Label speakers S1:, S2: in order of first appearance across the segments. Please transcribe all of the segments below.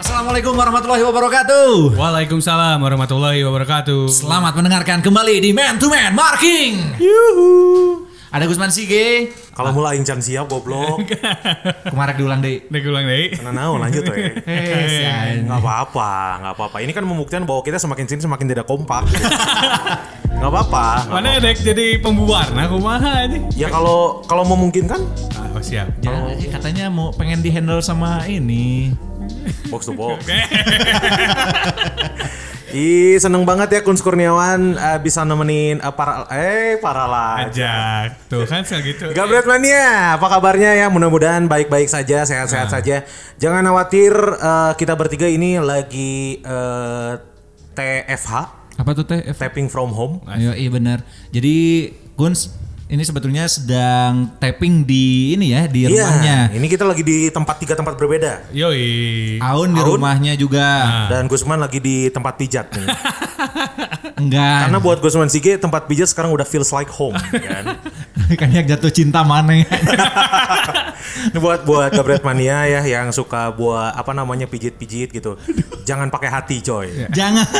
S1: Assalamualaikum warahmatullahi wabarakatuh.
S2: Waalaikumsalam warahmatullahi wabarakatuh.
S1: Selamat mendengarkan kembali di Man to Man Marking. Ada Gusman Sige.
S3: Kalau mulai jam siap goblok.
S1: Kemarin diulang deh.
S2: Nek ulang deh.
S3: Nah, naon lanjut we.
S1: Eh, si Aing.
S3: Enggak apa-apa, enggak apa-apa. Ini kan membuktikan bahwa kita semakin sini semakin tidak kompak. Enggak apa-apa. nggak
S2: Mana dek jadi pembuar? Nah, kumaha ini?
S3: apa-apa. Ya kalau kalau memungkinkan
S2: Oh, siap.
S1: Jangan aja katanya mau pengen dihandle sama ini.
S3: box to box. Ih, seneng banget ya Kun Kurniawan eh, bisa nemenin eh, para eh para lah.
S2: Ajak. Tuh kan sekali gitu.
S3: Gabret Mania, apa kabarnya ya? Mudah-mudahan baik-baik saja, sehat-sehat saja. Jangan khawatir, eh, kita bertiga ini lagi eh, TFH,
S1: Apa tuh teh?
S3: tapping from home.
S1: Ayo, iya benar. Jadi Guns ini sebetulnya sedang tapping di ini ya di
S3: Iya,
S1: rumahnya.
S3: ini kita lagi di tempat tiga tempat berbeda.
S2: Yoi.
S1: Aun di
S3: Aun? Nah.
S1: rumahnya juga.
S3: Dan Gusman lagi di tempat pijat nih.
S1: Enggak.
S3: Karena buat Gusman Sige tempat pijat sekarang udah feels like home kan.
S1: kan yang jatuh cinta mana ya.
S3: Ini buat buat Gabret Mania ya yang suka buat apa namanya pijit-pijit gitu. Jangan pakai hati coy.
S1: jangan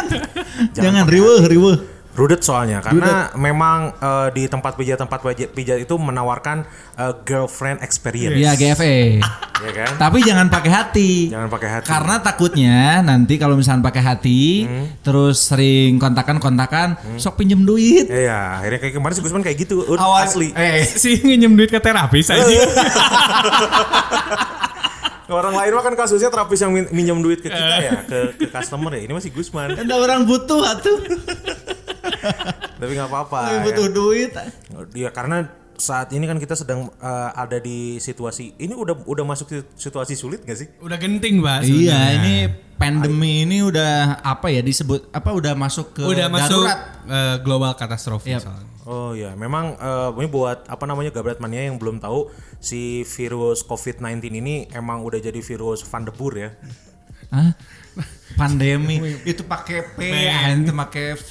S1: jangan riweuh riweuh
S3: Rudet soalnya karena memang eh, di tempat pijat tempat pijat, pijat itu menawarkan eh, girlfriend experience
S1: ya GFE
S3: ya kan.
S1: tapi jangan pakai hati
S3: Jangan pakai hati. Hmm.
S1: karena takutnya nanti kalau misalnya pakai hati terus sering kontakan kontakan sok pinjem duit
S3: Iya, ya, akhirnya kayak kemarin si Gusman kayak gitu, Ud,
S1: Awal-
S3: asli.
S1: eh
S2: Si nginjem duit ke terapis aja.
S3: Orang lain mah kan kasusnya terapis yang min- minjem duit ke kita ya, ke, ke customer ya. Ini masih Gusman.
S1: ada orang butuh atuh
S3: Tapi nggak apa-apa.
S1: Tapi
S3: ya.
S1: butuh duit
S3: Ya karena saat ini kan kita sedang eh, ada di situasi ini udah udah masuk si- situasi sulit gak sih?
S2: Udah genting,
S1: iya
S2: Pak. sebenarnya.
S1: ini pandemi ini udah apa ya disebut apa udah masuk ke
S2: udah masuk
S1: darurat. Iya.
S2: eh, global katastrofi
S1: Yap.
S2: soalnya.
S3: Oh ya, memang eh, ini buat apa namanya Gabret Mania yang belum tahu si virus COVID-19 ini emang udah jadi virus Vandebur ya.
S1: Hah? pandemi itu pakai
S2: iya.
S1: P itu pakai V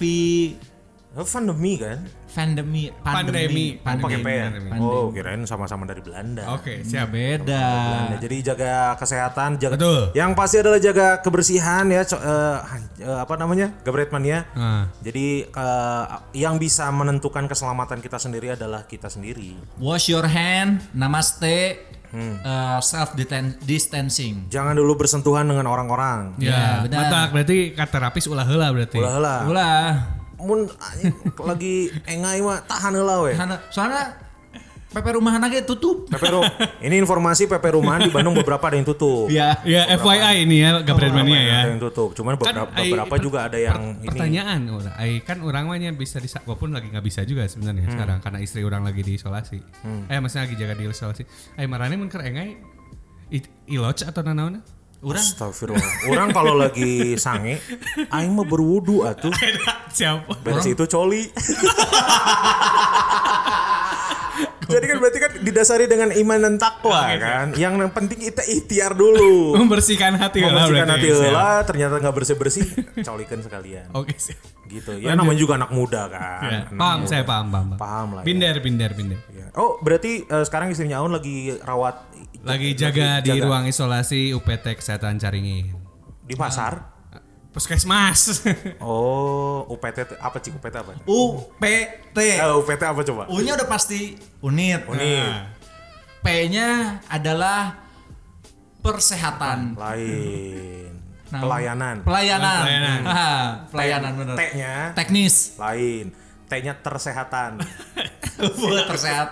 S3: Eh, Pandemi kan?
S1: pandemi
S2: Pandemi.
S1: pandemi,
S3: Pakai P ya?
S2: pandemi.
S3: Oh, kirain sama-sama dari Belanda.
S2: Oke,
S1: siap
S2: siap.
S1: Hmm, beda
S3: Nah, jadi jaga kesehatan, jaga
S2: Ah. Betul.
S3: yang pasti adalah jaga kebersihan ya, co- eh, han- eh, apa namanya, gabretmania.
S2: Ah.
S3: Jadi eh, yang bisa menentukan keselamatan kita sendiri adalah kita sendiri.
S1: wash your hand namaste
S3: Hmm.
S1: Eh, self distancing
S3: Jangan dulu bersentuhan dengan orang-orang.
S1: Ya,
S2: Ya,
S1: benar.
S2: Matak, berarti ke terapis ulah heula berarti.
S3: Ulah heula.
S1: ulah
S3: Mun anjing, lagi engai mah tahan heula we.
S1: Karena- soalnya PP rumah anaknya tutup
S3: PP Ru- ini informasi PP rumahan di Bandung beberapa ada yang tutup.
S1: ya
S2: Ya, FYI ini ya, Gabriel Mania ya.
S3: Ada yang tutup. Cuman beberapa,
S2: ai-
S3: beberapa
S2: per-
S3: juga ada yang ini.
S2: pertanyaan orang ai kan orang mah nya bisa di walaupun lagi nggak bisa juga
S3: Hmm.
S2: sebenarnya sekarang karena istri orang lagi diisolasi eh maksudnya lagi jaga di isolasi ai marane mun keur engai i- iloc atau nanaon
S1: orang
S3: Astagfirullah. Orang kalau lagi sange, aing mah berwudu atuh.
S2: siapa
S3: Beres itu coli. Jadi kan berarti kan didasari dengan iman dan takwa kan. Yang yang penting kita ikhtiar dulu.
S2: membersihkan hati lah
S3: Membersihkan
S2: Iya, berarti.
S3: hati
S2: Siap.
S3: heula, ternyata nggak bersih-bersih, colikan sekalian.
S2: oke siap
S3: Gitu. Ya namanya juga anak muda kan.
S2: Ya,
S3: Anak
S2: paham
S3: muda.
S2: saya paham paham paham.
S3: Paham lah ya.
S2: binder binder binder
S3: Ya. Oh, berarti eh, sekarang istrinya Aun lagi rawat
S2: lagi jaga di ruang isolasi UPT kesehatan Caringin
S3: di pasar.
S2: puskesmas
S3: Oh, UPT apa sih UPT apa?
S1: UPT
S3: Eh, UPT apa coba?
S1: U nya udah pasti unit
S3: Unit.
S1: P nya adalah persehatan
S3: Lain.
S1: Nah,
S3: Pelayanan.
S1: pelayanan
S2: Pelayanan.
S1: Ah, pelayanan bener
S3: T-nya
S1: teknis
S3: lain. T-nya tersehatan.
S1: buat kesehatan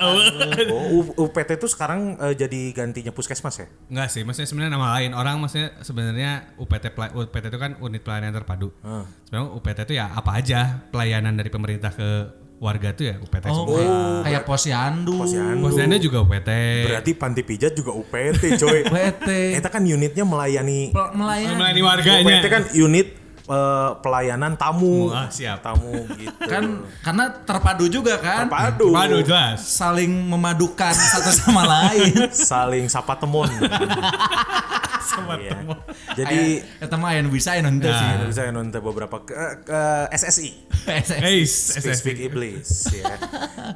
S3: Oh, U- UPT itu sekarang eh, jadi gantinya puskesmas ya?
S2: Enggak sih, maksudnya sebenarnya nama lain. Orang maksudnya sebenarnya UPT pela- UPT itu kan unit pelayanan terpadu.
S3: Hmm.
S2: Sebenarnya UPT itu ya apa aja pelayanan dari pemerintah ke warga itu ya UPT
S1: Oh,
S2: semua.
S1: kayak- kayak posyandu.
S3: Posyandu.
S2: Posyandu Oh. juga UPT.
S3: Berarti panti pijat juga UPT, coy.
S1: PT
S3: Eta kan unitnya melayani
S1: melayani.
S2: Melayani warganya.
S3: UPT kan unit eh, pelayanan tamu.
S2: Wah, siap.
S3: Tamu gitu.
S1: Kan karena terpadu juga kan.
S3: Terpadu.
S2: Waduh jelas.
S1: Saling memadukan satu sama lain.
S3: Saling sapa temun.
S2: Sama
S3: Iya.
S2: temu.
S3: Jadi
S1: kita mah yang bisa yang nanti sih. gitu.
S3: Saya bisa nonton beberapa ke, ke SSI. Eh,
S2: Hey,
S3: Speak Speak
S1: Iya.
S2: SSB.
S3: Iblis ya.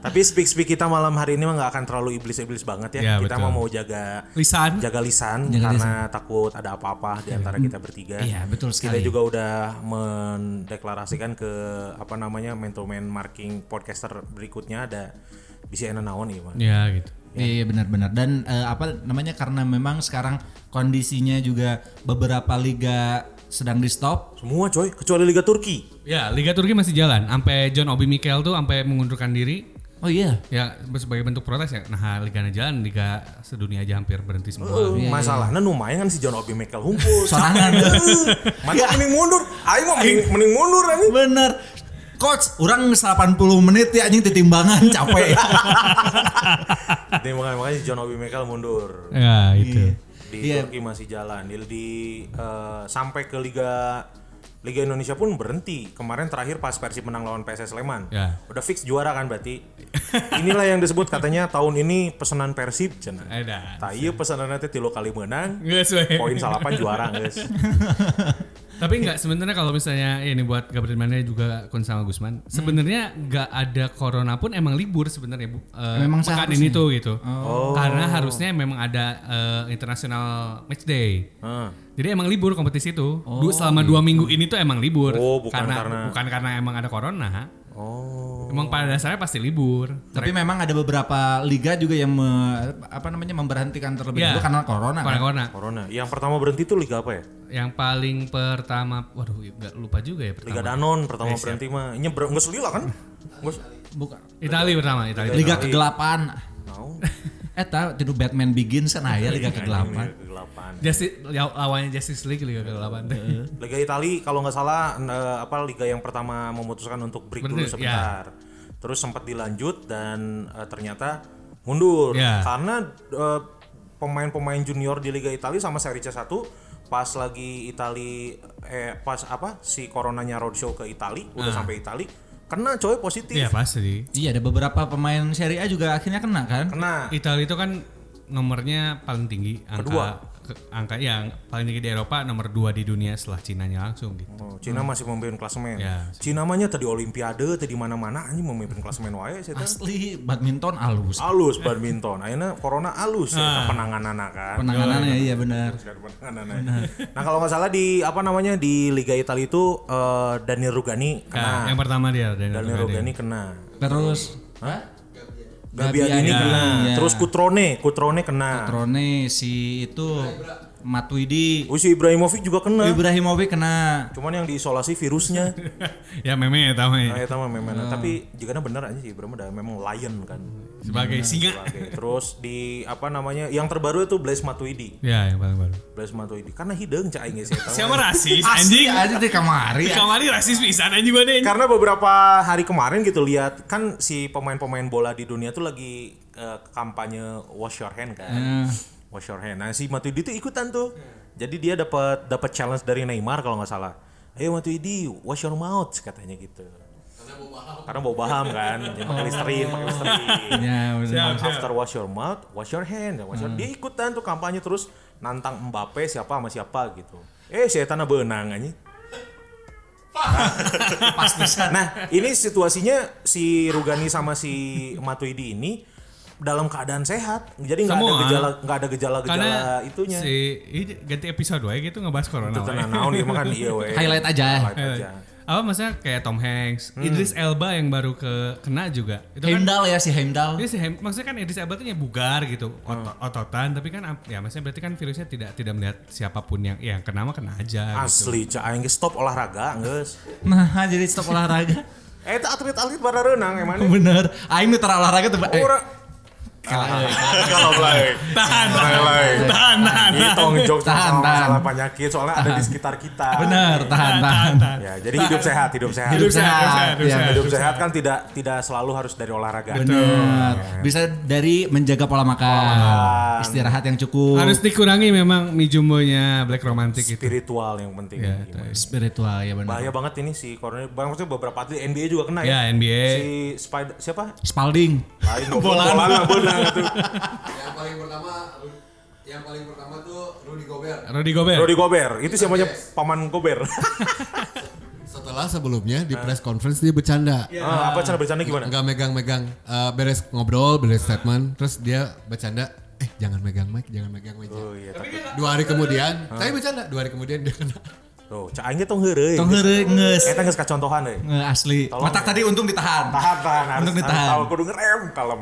S3: Tapi Speak Speak kita malam hari ini mah nggak akan terlalu iblis-iblis banget ya.
S1: Iya,
S2: Ya,
S3: kita
S2: betul.
S3: mah mau jaga
S2: Lisan.
S3: jaga lisan
S1: Jaga
S3: karena takut ada apa-apa di antara kita bertiga.
S1: Iya, betul
S3: Kita
S1: sekali.
S3: juga udah mendeklarasikan ke apa namanya mentomen marking podcaster berikutnya ada bisa naon ya, Bang.
S2: Ya gitu.
S1: Iya benar-benar dan eh, apa namanya karena memang sekarang kondisinya juga beberapa liga sedang di stop.
S3: Semua coy, kecuali Liga Turki.
S2: Ya, Liga Turki masih jalan. Sampai John Obi Mikel tuh sampai mengundurkan diri.
S1: Oh iya.
S2: Ya sebagai bentuk protes ya. Nah, Liga jalan, Liga sedunia aja hampir berhenti
S3: Oh.
S2: semua.
S3: Masalahnya lumayan kan si John Obi Mikel humpul.
S1: Iya, Sorangan.
S3: Mantap mending mundur. Ayo mah mending, mending mundur anjing.
S1: bener. Coach, orang 80 menit ya anjing titimbangan capek.
S2: Iya.
S3: Jadi makanya makanya si John Obi Mikel mundur.
S2: Ya itu.
S3: di
S1: Iya.
S3: Turki masih jalan di, di, eh, sampai ke Liga Liga Indonesia pun berhenti kemarin terakhir pas Persib menang lawan PSS Sleman
S2: Ya.
S3: udah fix juara kan berarti inilah yang disebut katanya tahun ini pesanan Persib cenah
S2: Ada.
S3: tak iya pesanan nanti tilu kali menang
S2: Nggak sesuai.
S3: poin salapan juara guys
S2: Tapi nggak sebenarnya kalau misalnya ya ini buat Gabriel Mane juga Kun sama
S1: Hmm.
S2: Gusman. Sebenarnya nggak ada corona pun emang libur sebenarnya Bu. Eh,
S1: Memang
S2: pekan
S1: seharusnya. Oh.
S2: ini tuh gitu. Karena harusnya memang ada eh, international match day.
S3: Heeh.
S2: Jadi emang libur kompetisi itu.
S1: Oh,
S2: Du- selama dua
S1: gitu.
S2: minggu ini tuh emang libur.
S3: Oh, bukan karena-
S2: bukan karena emang ada corona.
S3: oh
S2: Emang pada dasarnya pasti libur.
S1: Tapi memang ada beberapa liga juga yang me- apa namanya memberhentikan terlebih
S2: Iya.
S1: dahulu karena corona.
S2: Karena
S1: kan?
S2: corona.
S3: corona yang pertama berhenti tuh Liga apa ya
S2: Yang paling pertama, waduh, nggak lupa juga ya pertama.
S3: Liga Danon pertama berhenti mah nyebrang nggak selila kan nggak se-
S1: Bukan.
S2: Itali pertama, Itali.
S1: Liga kegelapan.
S3: no.
S1: Eh tahu jadi Batman Begins kan aya liga
S2: Iya.
S3: Iya,
S1: kegelapan.
S3: kegelapan
S2: Justice ya, lawannya Justice League Liga ke-8.
S3: Liga Itali kalau nggak salah n- eh, apa liga yang pertama memutuskan untuk break dulu
S2: Berhenti,
S3: sebentar. Terus sempat dilanjut dan eh, ternyata mundur
S2: Ya.
S3: karena eh, pemain-pemain junior di Liga Itali sama Serie C1 pas lagi Itali eh pas apa si coronanya roadshow ke Itali
S2: Ah.
S3: udah sampai Itali kena coy positif.
S2: Iya pasti.
S1: Iya ada beberapa pemain Serie A juga akhirnya kena kan?
S3: Kena
S2: Italia itu kan nomornya paling tinggi angka
S3: Kedua.
S2: ke- angka yang paling tinggi di Eropa nomor dua di dunia setelah Cinanya langsung gitu.
S3: Oh, Cina masih memimpin klasemen.
S2: Ya.
S3: Cina mahnya tadi Olimpiade, tadi mana-mana anjing memimpin klasemen wae saya teh.
S1: Asli badminton alus.
S3: Alus badminton. Akhirnya corona alus ya, penangananna kan.
S1: Penanganannya iya benar.
S3: Gak ada penanganannya. Nah kalau nggak salah di apa namanya di Liga Italia itu eh, Daniel
S2: Nah,
S3: Rugani kena.
S2: yang pertama dia Daniel
S3: Daniel
S2: Rugani.
S3: Rugani kena.
S1: Terus
S3: Gabiani kena.
S1: iya.
S3: Terus Kutrone, Kutrone kena.
S1: Trone si itu Matuidi,
S3: Oh, si Ibrahimovic juga kena.
S1: Ibrahimovic kena.
S3: Cuman yang diisolasi virusnya.
S2: ya meme ya
S3: Nah,
S2: tamanya.
S3: itu mah memang. Tapi jika bener aja si Ibrahim udah memang lion kan.
S2: Sebagai singa.
S3: Oke, Terus di apa namanya yang terbaru itu Blaise Matuidi.
S2: Ya, yang paling baru.
S3: Blaise Matuidi karena hidung cai nggak sih.
S2: Siapa rasis anjing?
S1: Aja di kamari.
S2: Di kamari rasis pisan anjing badan.
S3: Karena beberapa hari kemarin gitu lihat kan si pemain-pemain bola di dunia tuh lagi eh, kampanye wash your hand kan. Wash your hand. Nah, si Matuidi tuh ikutan tuh. Jadi dia dapat dapat challenge dari Neymar kalau nggak salah. Ayo Matuidi, wash your mouth katanya gitu. Karena bau baham kan, jadi pakai listerin, pakai listerin.
S1: Ya, benar.
S3: After wash your mouth, wash your hand. Wash your... Dia ikutan tuh kampanye terus nantang Mbappe siapa sama siapa gitu. Eh, saya tanah benang anjing.
S1: Pas pisan.
S3: Nah, ini situasinya si Rugani sama si Matuidi ini dalam keadaan sehat. Jadi nggak ada
S2: Semua.
S3: gejala nggak ada gejala-gejala
S2: Karena
S3: itunya.
S2: si ini ganti episode wae gitu ngebahas corona.
S3: Itu
S2: wae. Iya.
S3: tenang naon ieu mah kan iya we.
S1: Highlight aja. ya. Iya.
S3: Highlight aja. Hmm.
S2: Apa maksudnya kayak Tom Hanks, Idris Elba yang baru ke kena juga. Itu kan
S1: Heimdall ya si Heimdall.
S2: Iya sih, hem- maksudnya kan Idris Elba tuh ya bugar gitu, otot,
S3: Oh.
S2: ototan, tapi kan ap- ya maksudnya berarti kan virusnya tidak tidak melihat siapapun yang ya yang kena mah kena aja. gitu.
S3: Asli, cah aing geus stop olahraga, geus.
S1: Nah, jadi stop olahraga.
S3: Eh, itu atlet-atlet pada renang emang.
S1: Bener. Aing nu tara olahraga tuh. eh,
S3: Orang
S1: kalah.
S3: kalau baik.
S2: Tahan, tahan, tahan, tahan,
S3: Ini tong jokes
S1: Tahan, tahan.
S3: masalah, masalah penyakit soalnya ada di sekitar kita.
S1: Benar, tahan, tahan.
S3: Ya, jadi hidup sehat, hidup sehat.
S1: Hidup sehat,
S2: hidup
S1: ya.
S2: sehat.
S3: Hidup sehat kan tidak tidak selalu harus dari olahraga.
S1: Benar. Bisa dari menjaga pola makan, istirahat yang cukup,
S2: Harus dikurangi memang mie jumbonya Black Romantic itu.
S3: Spiritual yang penting.
S2: Gitu. Ya,
S3: Gimana?
S2: tai.
S1: spiritual ya benar.
S3: Bahaya banget ini si corona. Bang, maksudnya beberapa atlet NBA juga kena
S2: Ya,
S3: ya.
S2: NBA.
S3: Si Spider siapa?
S1: Spalding.
S3: Lain bola bola benar itu.
S4: yang paling pertama yang paling pertama tuh Rudy Gobert
S2: Rudy Gobert.
S3: Rudy Gobert. Itu siapanya paman Gobert.
S4: setelah sebelumnya di press conference dia bercanda
S3: Ah, apa cara bercanda gimana?
S4: nggak megang-megang eh, beres ngobrol beres statement terus dia bercanda eh jangan megang mic jangan megang meja
S3: Oh iya. tak-
S4: dua hari kemudian saya bercanda dua hari kemudian dia kena
S3: Tuh, cak aing ge tong heureuy.
S1: Tong heureuy ngeus. ya.
S3: Eta geus kacontohan euy.
S1: Nge- asli. Matak tadi untung ditahan.
S3: Tahan, tahan, harus,
S1: Untung
S3: harus
S1: ditahan.
S3: tahu kudu ngerem kalem.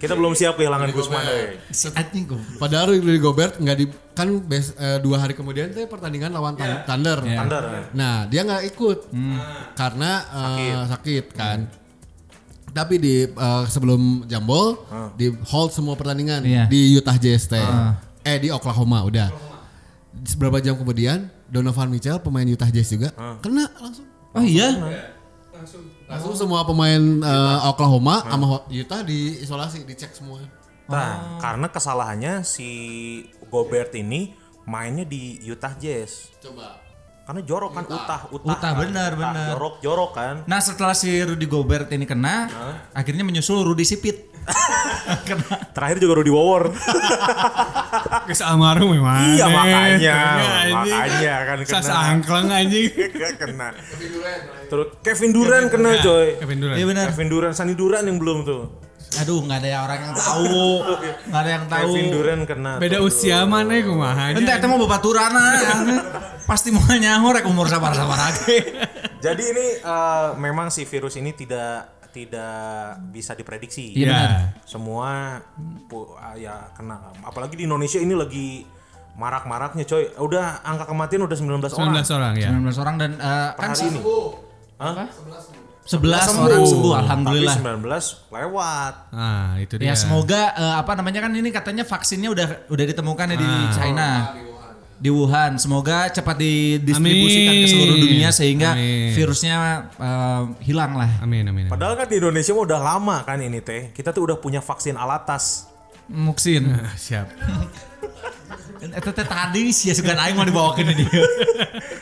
S3: Kita belum siap kehilangan eh. Gusman euy.
S1: Si anjing gua.
S4: padahal Rudy Gobert nggak di kan bes- eh, dua hari kemudian tuh pertandingan lawan Thun- Thunder
S3: Standar.
S4: Nah, dia nggak ikut
S1: Hmm.
S4: karena eh, sakit. kan. Tapi di eh, sebelum jambol di hold semua pertandingan
S1: Hmm. Iya. Hmm.
S4: di Utah Jazz teh. Eh di Oklahoma udah. Beberapa jam kemudian Donovan Mitchell pemain Utah Jazz juga kena langsung.
S1: Hmm. Oh iya.
S4: Langsung semua pemain eh,
S1: Hmm.
S4: Oklahoma sama Ho- Utah diisolasi, dicek semua.
S3: Nah, karena kesalahannya si Gobert ini mainnya di Utah Jazz.
S4: Coba.
S3: Karena jorok kan Utah, Utah.
S1: Utah,
S3: kan.
S1: benar, benar.
S3: Jorok, jorok kan.
S1: Nah setelah si Rudy Gobert ini kena, akhirnya menyusul Rudy Sipit. kena.
S3: Terakhir juga Rudy Wawor.
S2: Geus almarhum memang.
S3: Iya, makanya.
S2: Kena, anjing.
S3: Makanya kan kena.
S2: Sas angkleng anjing.
S3: Iya, kena. Terus Kevin Durant kena coy.
S2: Kevin Durant.
S1: Iya benar.
S3: Kevin Durant, Sani Durant yang belum tuh.
S1: Aduh nggak ada yang orang yang tahu, nggak ada yang tahu.
S3: Kevin Durant kena.
S2: Beda
S3: tuh.
S2: usia mana ya, kumaha
S1: Ente eta mah babaturana. Pasti mau nyaho rek umur sabar-sabar
S3: Iya.
S1: lagi.
S3: Jadi ini eh, memang si virus ini tidak tidak bisa diprediksi.
S2: Ya.
S1: Iya. benar.
S3: Semua pu- ah, ya kena. Apalagi di Indonesia ini lagi marak-maraknya coy. Udah angka kematian udah 19, orang.
S2: 19 orang ya.
S1: 19 orang dan eh,
S3: Per
S1: kan
S3: hari ini. Hah?
S1: 11 orang sembuh alhamdulillah.
S3: Tapi Iya. 19 lewat.
S2: Ah, itu dia.
S1: Ya semoga eh, apa namanya kan ini katanya vaksinnya udah udah ditemukan ya di
S3: Ah.
S1: China.
S3: Oh.
S1: Di Wuhan, semoga cepat didistribusikan ke seluruh
S2: Amin.
S1: dunia sehingga
S2: Amin.
S1: virusnya eh, hilang lah.
S2: Amin amin. amin.
S3: Padahal kan di Indonesia mah udah lama kan ini teh. Kita tuh udah punya vaksin alatas.
S1: Muksin.
S2: Ah, Siap.
S1: Eta teh tadi sih ya sugan aing mau dibawakeun di dieu.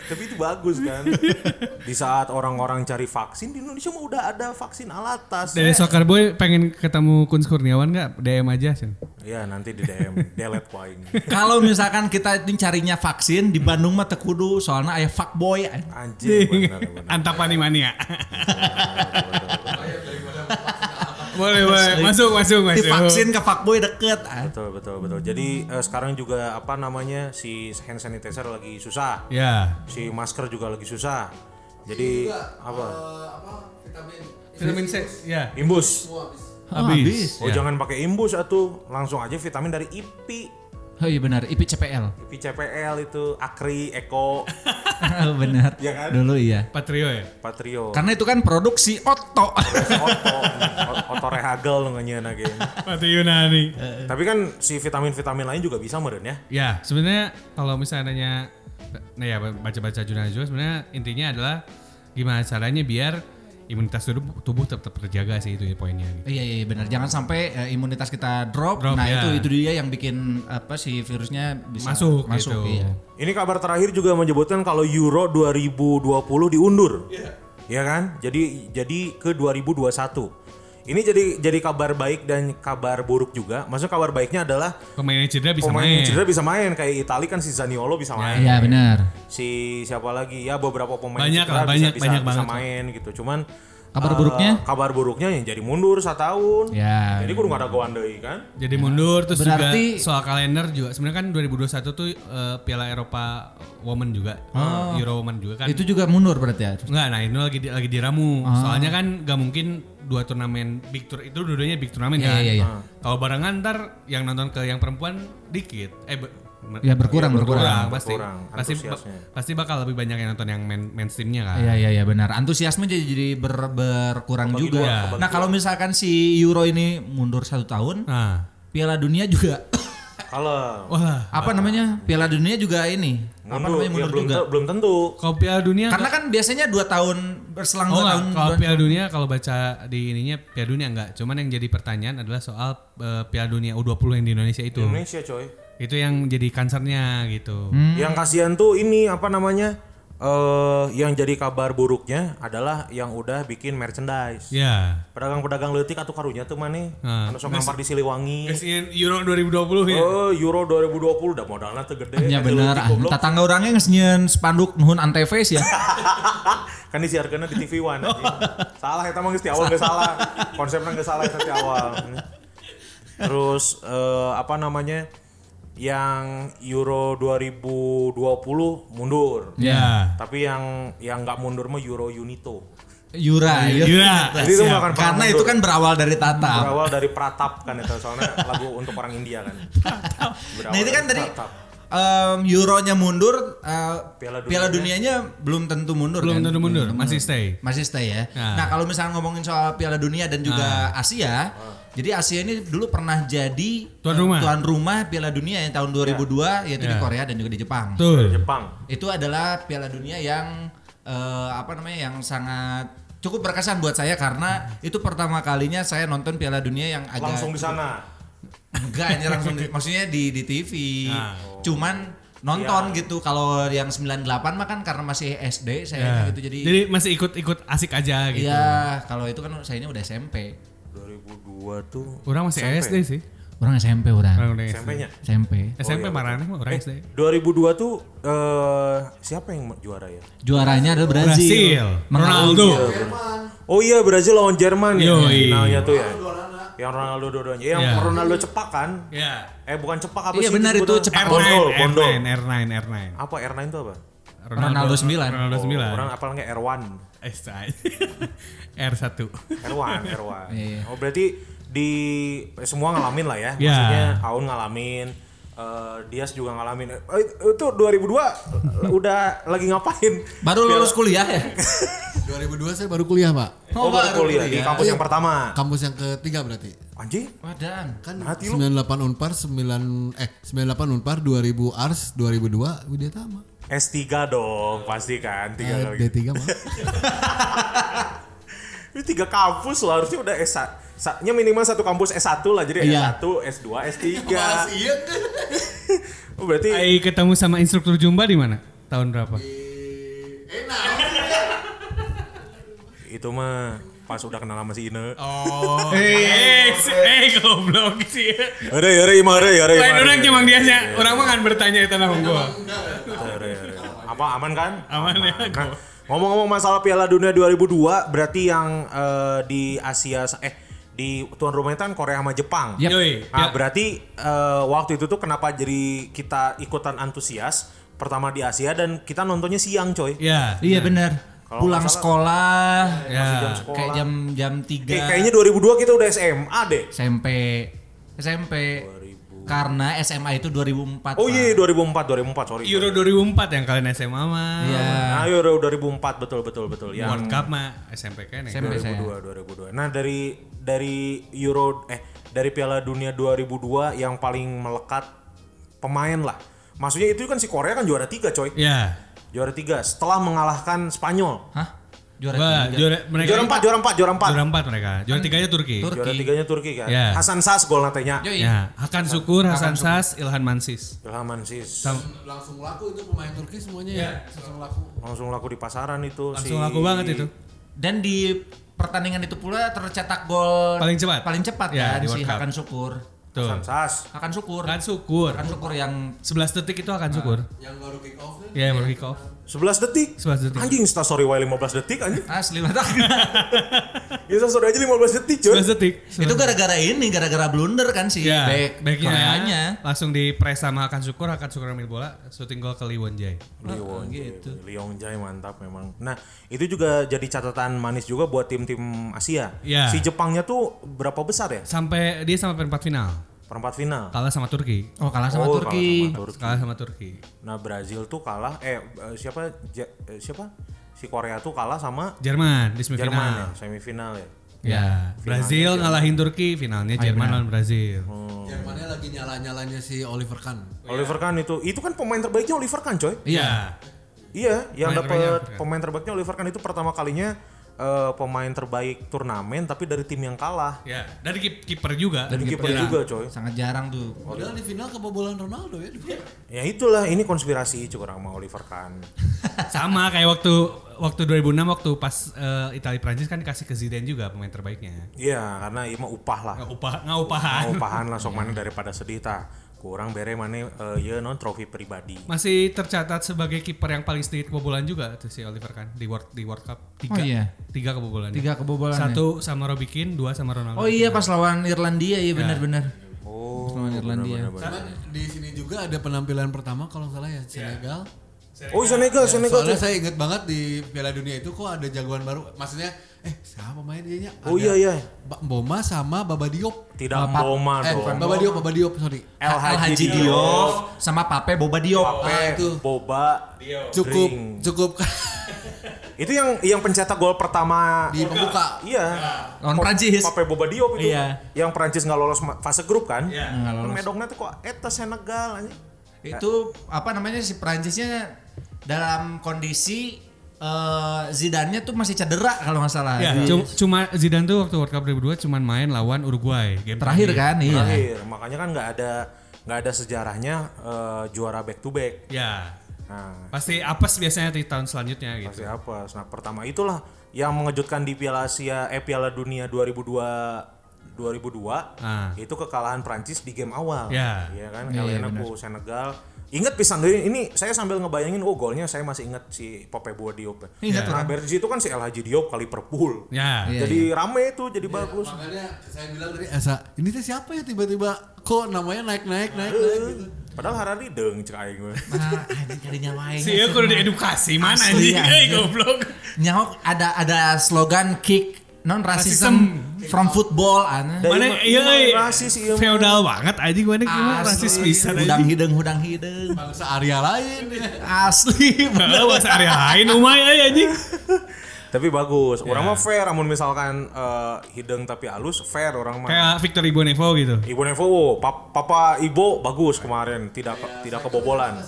S3: Tapi itu bagus kan. di saat orang-orang cari vaksin di Indonesia mah udah ada vaksin alatas. Eh.
S2: Dari Soccer Boy pengen ketemu Kun Kurniawan nggak? DM aja sih.
S3: Ya nanti di E DM delete poin.
S1: Kalau misalkan kita ini carinya vaksin di Bandung mah teu kudu soalnya aya fuckboy.
S3: Anjing benar-benar.
S2: Antapani mania. boleh boleh masuk masuk
S1: Di
S2: masuk.
S1: vaksin ke fuckboy deket. ah.
S3: Betul betul betul. Jadi eh, sekarang juga apa namanya si hand sanitizer lagi susah.
S2: Ya.
S3: Si masker juga lagi susah. Jadi apa?
S2: Vitamin C. Ya.
S3: eh, Imbus.
S1: Ah, habis.
S2: Habis. ya.
S3: Oh jangan pakai imbus atuh, langsung aja vitamin dari IPI.
S1: Oh iya benar, IP CPL.
S3: IPI CPL itu Akri, Eko,
S1: Oh, benar.
S3: Iya kan? Oh.
S1: Dulu iya.
S2: Patrio ya.
S3: Patrio.
S1: Karena itu kan produksi Otto.
S3: Oto, Ot- Oto Rehagel nu ngeunyeuna ge.
S2: Patrio Yunani.
S3: Tapi kan si vitamin-vitamin lain juga bisa meren ya.
S2: Ya, sebenarnya kalau misalnya nanya, nah ya baca-baca jurnal juga sebenarnya intinya adalah gimana caranya biar imunitas tubuh, tubuh tetap terjaga sih itu ya poinnya. gitu.
S1: iya iya benar. Jangan sampai eh, imunitas kita drop.
S2: Drop,
S1: nah
S2: ya.
S1: itu itu dia yang bikin apa si virusnya bisa
S2: Masuk,
S1: masuk.
S2: gitu.
S1: Iya.
S3: Ini kabar terakhir juga menyebutkan kalau Euro 2020 diundur. Iya. kan? Jadi jadi ke 2021. Ini jadi jadi kabar baik dan kabar buruk juga. Maksudnya kabar baiknya adalah
S2: Pemainnya cedera bisa
S3: pemain
S2: main.
S3: yang cedera bisa main kayak Itali kan si Zaniolo bisa main.
S1: Iya benar.
S3: Si siapa lagi? Ya beberapa pemain
S2: Banyak
S3: cedera
S2: lah, banyak-
S3: bisa,
S2: banyak
S3: bisa, bisa
S2: banget.
S3: main gitu. Cuman
S1: Kabar
S3: eh,
S1: buruknya?
S3: Kabar buruknya yang jadi mundur setahun.
S1: Ya.
S3: Jadi kudu nggak ada goan deui kan?
S2: Jadi mundur terus
S1: Berarti-
S2: juga soal kalender juga sebenarnya kan 2021 tuh eh, Piala Eropa Women juga,
S1: Oh.
S2: Euro Women juga kan.
S1: Itu juga mundur berarti ya.
S2: Enggak, nah ini lagi di, lagi diramu.
S1: Ah.
S2: Soalnya kan gak mungkin dua turnamen big tour itu dua-duanya big turnamen
S1: Iya,
S2: kan.
S1: iya, iya.
S2: Kalau barengan ntar yang nonton ke yang perempuan dikit. Eh be- iya,
S1: Ya berkurang berkurang.
S2: berkurang, pasti
S3: berkurang
S2: pasti ba-
S3: antusiasnya.
S2: pasti bakal lebih banyak yang nonton yang main mainstreamnya kan.
S1: Iya iya iya benar. Antusiasme jadi jadi ber- berkurang juga.
S3: dua,
S1: Nah kalau misalkan si Euro ini mundur satu tahun,
S2: Nah,
S1: Piala Dunia juga
S3: Kalau
S2: Wah,
S1: Apa namanya? Piala Dunia juga ini. Apa namanya
S3: mundur, ya
S1: mundur
S3: belum,
S1: juga. Hmm.
S3: te- belum tentu.
S2: kalau Piala Dunia
S1: Karena kan biasanya dua tahun berselang
S2: Oh
S1: dua
S2: enggak,
S1: tahun.
S2: kalau
S1: dua-
S2: Piala Dunia kalau baca di ininya Piala Dunia enggak. Cuman yang jadi pertanyaan adalah soal eh, Piala Dunia U20 yang di Indonesia itu.
S3: Indonesia coy.
S2: Itu yang jadi kansernya gitu.
S1: Hmm.
S3: Yang kasihan tuh ini apa namanya? eh yang jadi kabar buruknya adalah yang udah bikin merchandise.
S2: Ya.
S3: Pedagang-pedagang leutik atau karunya tuh mana?
S2: Nah.
S3: Anu sok ngampar di Siliwangi.
S2: Guys, in Euro 2020 ya.
S3: Oh, Euro 2020 udah modalnya tuh gede.
S1: Ya
S3: Eta
S1: bener,
S3: leutik
S1: ah,
S3: goblok.
S1: tatangga orangnya ngesnyen spanduk nuhun anteface ya.
S3: kan disiarkan di TV One. anjing. salah eta mah geus ti awal geus salah. Konsepnya geus salah eta ti awal. Terus eh, apa namanya? Yang Euro 2020 mundur.
S1: Iya.
S2: Ya.
S3: Tapi yang yang nggak mundur mah Euro Unito.
S1: Yura, iya.
S2: Yura.
S3: Iya. Jadi itu nggak akan pernah
S1: Karena itu
S3: mundur.
S1: kan berawal dari tatap.
S3: Berawal dari Pratap kan itu soalnya lagu untuk orang India kan. Berawal
S1: Nah itu kan
S3: dari
S1: tadi
S3: Pratap.
S1: em, Euronya mundur, eh,
S3: Piala
S1: Piala,
S3: Dunia.
S1: Dunianya belum tentu mundur
S2: Belum
S1: kan?
S2: tentu mundur, masih stay.
S1: Masih stay ya.
S2: Nah.
S1: Nah kalau misalnya ngomongin soal Piala Dunia dan juga Asia,
S3: Ah.
S1: jadi Asia ini dulu pernah jadi
S2: Tuan
S1: eh,
S2: rumah. Ya.
S1: tuan rumah Piala Dunia yang tahun 2002 yaitu di Korea dan juga di Iya, Jepang.
S2: Betul.
S3: Jepang.
S1: Itu adalah Piala Dunia yang eh, apa namanya yang sangat cukup berkesan buat saya karena
S2: Hmm.
S1: itu pertama kalinya saya nonton Piala Dunia yang agak
S3: Langsung di sana.
S1: Enggak, ini langsung di- maksudnya di di TV.
S2: Ah.
S3: oh.
S1: Cuman nonton
S3: Iya.
S1: gitu kalau yang 98 mah kan karena masih SD
S3: Iya.
S1: saya
S2: Ya.
S1: gitu jadi
S2: Jadi masih ikut-ikut asik aja gitu.
S1: Iya, kalau itu kan saya ini udah SMP.
S3: 2002 tuh.
S2: Orang masih SD sih.
S1: Orang SMP udah.
S2: Orang udah SD.
S3: SMP-nya.
S1: SMP.
S2: SMP marahnya mah orang
S3: Eh,
S2: SD.
S3: 2002 tuh eh siapa yang juara ya?
S1: Juaranya adalah Brazil.
S2: Brazil. Ronaldo.
S3: Oh iya Brazil lawan Jerman ya
S2: Yoi.
S3: finalnya tuh ya. Yang Ronaldo dua-duanya. Yang
S2: Iya.
S3: Ronaldo cepak kan?
S2: Ya.
S3: Eh bukan cepak apa
S1: Iya,
S3: sih?
S1: benar itu
S3: sebutan?
S1: cepak.
S2: R9,
S3: Bondol,
S2: R9,
S3: bondol.
S2: R9, R9.
S3: Apa R9 itu apa?
S1: Ronaldo sembilan.
S2: Ronaldo
S3: Oh,
S2: 9.
S3: Orang apal nggak R1.
S2: Eh, say. R1.
S3: R1, R1.
S1: Iya.
S3: Oh berarti di eh, semua ngalamin lah ya.
S2: Iya.
S3: Maksudnya Aun ngalamin, eh, Dias juga ngalamin. Eh, itu 2002 udah lagi ngapain?
S1: Baru lulus kuliah ya?
S4: 2002 saya baru kuliah pak.
S3: Iya. Oh, baru kuliah di
S1: Iya.
S3: kampus yang pertama.
S4: Kampus yang ketiga berarti.
S3: Anjing,
S1: Wadan.
S4: Kan
S3: Hati lu.
S4: 98 Unpar 9 eh 98 Unpar 2000 Ars 2002 Widya Tama.
S3: S3 dong pasti kan. Tiga
S4: Eh,
S3: kali.
S4: D3 mah.
S3: Ini tiga kampus lah harusnya udah S1. Sa- nya minimal satu kampus S1 lah. Jadi
S1: Iya.
S3: S1, S2, S3. Iya, Oh, berarti
S2: Ai ketemu sama instruktur Zumba di mana? Tahun berapa?
S3: itu mah pas udah kenal sama si Ine.
S2: Oh. Eh, si- eh goblok sih.
S3: Ada ya, ada ima, ada ya, ada
S2: Lain orang Eh, cuma dia nya. Orang mah kan bertanya itu nama gua.
S3: Apa aman kan?
S2: Aman ya.
S3: Nah, ngomong-ngomong masalah Piala Dunia 2002, berarti yang eh, di Asia eh di tuan rumahnya kan Korea sama Jepang.
S1: Yap.
S2: Yoi. ya-
S3: Nah, berarti eh, waktu itu tuh kenapa jadi kita ikutan antusias pertama di Asia dan kita nontonnya siang, coy.
S2: Ya.
S1: Iya benar.
S3: Kalau
S1: Pulang
S3: nggak salah- Iya,
S1: sekolah
S2: Ya.
S3: jam sekolah.
S1: kayak jam jam 3
S3: Eh, kayaknya 2002 kita udah SMA deh.
S1: SMP. SMP. Karena SMA itu 2004.
S3: Oh
S1: Pak.
S3: iya, 2004, 2004,
S2: Ah.
S3: sorry.
S2: Euro 2004 yang kalian SMA mah.
S1: Iya.
S3: Nah, Euro 2004 betul betul betul. Yang
S2: World Cup mah SMP kan ya.
S1: SMP saya.
S3: 2002, 2002. Nah, dari dari Euro eh dari Piala Dunia 2002 yang paling melekat pemain lah. Maksudnya itu kan si Korea kan juara tiga coy.
S2: Ya.
S3: Juara tiga setelah mengalahkan Spanyol.
S1: Hah? Juara
S2: Wah,
S1: tiga.
S2: juara mereka
S3: Juara empat, juara empat, juara empat.
S2: Juara empat mereka. Juara tiganya Turki.
S1: Tur-
S3: Juara
S1: Turki.
S3: tiganya Turki kan.
S2: Ya.
S3: Hasan Sas gol natenya.
S1: Yoi.
S2: Ya, Hakan Syukur, Hasan Sas, Ilhan Mansis.
S3: Ilhaman sis.
S4: Langsung laku itu pemain Turki semuanya ya. Langsung laku.
S3: Langsung laku di pasaran itu
S2: Langsung laku banget itu.
S1: Dan di pertandingan itu pula tercetak gol
S2: Paling cepat.
S1: Paling cepat kan
S2: Ya,
S1: si
S2: di World Cup.
S1: Hakan Syukur.
S2: Tuh.
S3: Hasan Sas.
S1: Hakan Syukur.
S2: Hakan Syukur.
S1: Hakan Syukur yang
S2: 11 detik itu Hakan Syukur.
S4: Yang baru kick off nih.
S2: Ya, baru kick off.
S3: 11 detik.
S2: 11 detik.
S3: Anjing Insta story wae 15 detik anjing.
S1: asli banget.
S3: Insta story aja 15 detik coy.
S2: 11 detik.
S1: itu gara-gara ini, gara-gara blunder kan si
S2: Ya,
S1: back
S2: backnya
S1: Koreanya.
S2: langsung di press sama Hakan Syukur, Hakan Syukur ambil bola, shooting gol ke Lee Won Jae.
S3: Liwon gitu. Jai mantap memang. Nah, itu juga jadi catatan manis juga buat tim-tim Asia.
S2: Iya.
S3: Si Jepangnya tuh berapa besar ya?
S2: Sampai dia sampai perempat final,
S3: Perempat final.
S2: kalah sama Turki.
S1: Oh kalah sama
S3: Oh, kalah
S1: Turki.
S3: sama Turki.
S2: Kalah sama Turki.
S3: Nah, Brazil tuh kalah eh eh, siapa Ja- eh, siapa? Si Korea tuh kalah sama
S2: Jerman di
S3: Jerman ya,
S2: semifinal.
S3: semifinal ya.
S2: Ya, Brazil ngalahin Turki, finalnya Jerman lawan Brazil.
S3: Oh.
S4: Jermannya lagi nyala-nyalanya si Oliver Kahn.
S3: Oliver Kahn itu, itu kan pemain terbaiknya Oliver Kahn coy.
S2: Iya.
S3: Iya,
S2: Pemain terbaiknya
S3: yang
S2: Oliver
S3: dapat
S4: kan?
S2: Kahn.
S3: pemain terbaiknya Oliver Kahn itu pertama kalinya eh, pemain terbaik turnamen tapi dari tim yang kalah.
S2: Ya, dari kip- kiper juga.
S3: Dari
S4: Gitu,
S3: kiper
S4: iya.
S1: jarang.
S3: juga coy.
S1: Oh. Sangat jarang tuh.
S3: Oh.
S4: Padahal di final kebobolan Ronaldo ya.
S3: Ya itulah, ini konspirasi cuy orang sama Oliver Kahn.
S2: Sama kayak waktu waktu 2006 waktu pas eh, Italia Prancis kan dikasih ke Zidane juga pemain terbaiknya.
S3: Iya, karena ini mah upah lah.
S2: Nggak upah, nggak upahan.
S3: Mau pahan lah
S4: Iya.
S3: sok mana daripada sedih ta. Kurang bere mana eh, ya non trofi pribadi.
S2: Masih tercatat sebagai kiper yang paling sedikit kebobolan juga tuh si Oliver Kahn di World di World Cup tiga
S1: Oh iya.
S2: tiga kebobolan. ya.
S1: Tiga kebobolan.
S2: Satu sama Robbie Keane, dua sama
S1: Oh
S2: Ronaldo.
S1: iya pas lawan Irlandia iya
S2: Ya.
S1: benar-benar.
S3: Oh,
S1: Lawan Irlandia.
S4: Cuman di sini juga ada penampilan pertama kalau nggak salah ya Senegal.
S3: Oh Senegal, Senegal
S4: Iya, Soalnya
S3: tuh.
S4: saya inget banget di Piala Dunia itu kok ada jagoan baru. Maksudnya eh siapa main dia
S3: Oh iya iya.
S4: Boma sama Baba Diop.
S3: Tidak Boma
S4: Eh,
S3: dong.
S4: Baba Diop, Baba Diop, sorry.
S3: El Haji Diop,
S1: Diop sama Pape Boba Diop.
S4: Ah,
S3: Pe,
S4: itu.
S3: Boba.
S4: Cukup
S3: Ring.
S4: cukup
S3: Itu yang yang pencetak gol pertama.
S4: di pembuka.
S3: Iya.
S1: Lawan Prancis.
S3: Pape Boba Diop itu.
S1: Iya. Hmm,
S3: Yang Prancis nggak lolos ma- fase grup kan? Iya.
S1: Nggak lolos.
S3: Medoknya tuh kok eta Senegal anjing.
S1: Itu apa namanya si Prancisnya dalam kondisi eh Zidane-nya tuh masih cedera kalau nggak salah.
S2: Ya,
S1: Di-
S2: cu- cuma Zidane tuh waktu World Cup 2002 cuman main lawan Uruguay game
S1: terakhir kan iya.
S3: Terakhir. Makanya kan nggak ada nggak ada sejarahnya eh, juara back to back.
S2: Ya,
S3: Nah,
S2: pasti apes biasanya di tahun selanjutnya gitu.
S3: Pasti apa? Nah pertama itulah yang mengejutkan di Piala Asia eh Piala Dunia 2002 2002
S2: Ah.
S3: itu kekalahan Prancis di game awal.
S2: Ya.
S3: Iya kan? Elena ku Senegal. Ingat pisang deh ini saya sambil ngebayangin oh golnya saya masih ingat si Pope Boa Diop.
S1: Ingat
S3: Nah, dari situ kan si El Hadji Diop kali Liverpool.
S2: Ya,
S1: Iya.
S3: jadi rame itu jadi bagus.
S4: Makanya saya bilang tadi Esa, ini teh siapa ya tiba-tiba kok namanya naik-naik naik-naik gitu.
S3: Padahal Harari deng cek aing mah.
S1: Nah, anjing kali nyawain.
S2: Si Iya kudu diedukasi mana
S1: Asli,
S2: anjing.
S1: Iya, anjing.
S2: Eh goblok.
S1: Nyawa ada ada slogan kick non racism from football ah, nah. aneh.
S3: Dari
S2: Mana
S3: mah-
S2: iya
S3: mah
S2: euy.
S3: rasis iya. mah.
S2: Feodal banget anjing mana gimana Iya, rasis pisan
S1: Hudang
S2: anjing.
S1: hidung, hudang hidung.
S4: Bangsa Arya lain.
S1: Asli.
S2: Kalau bahasa hari lain umay euy anjing.
S3: Tapi bagus.
S2: Ya.
S3: Orang mah fair amun misalkan eh, hidung tapi halus fair orang mah.
S2: Kayak Victor Ibonevo gitu.
S1: Iya,
S3: Ibu Nevo, oh, pap- Papa Ibo bagus kemarin, tidak ke- tidak kebobolan.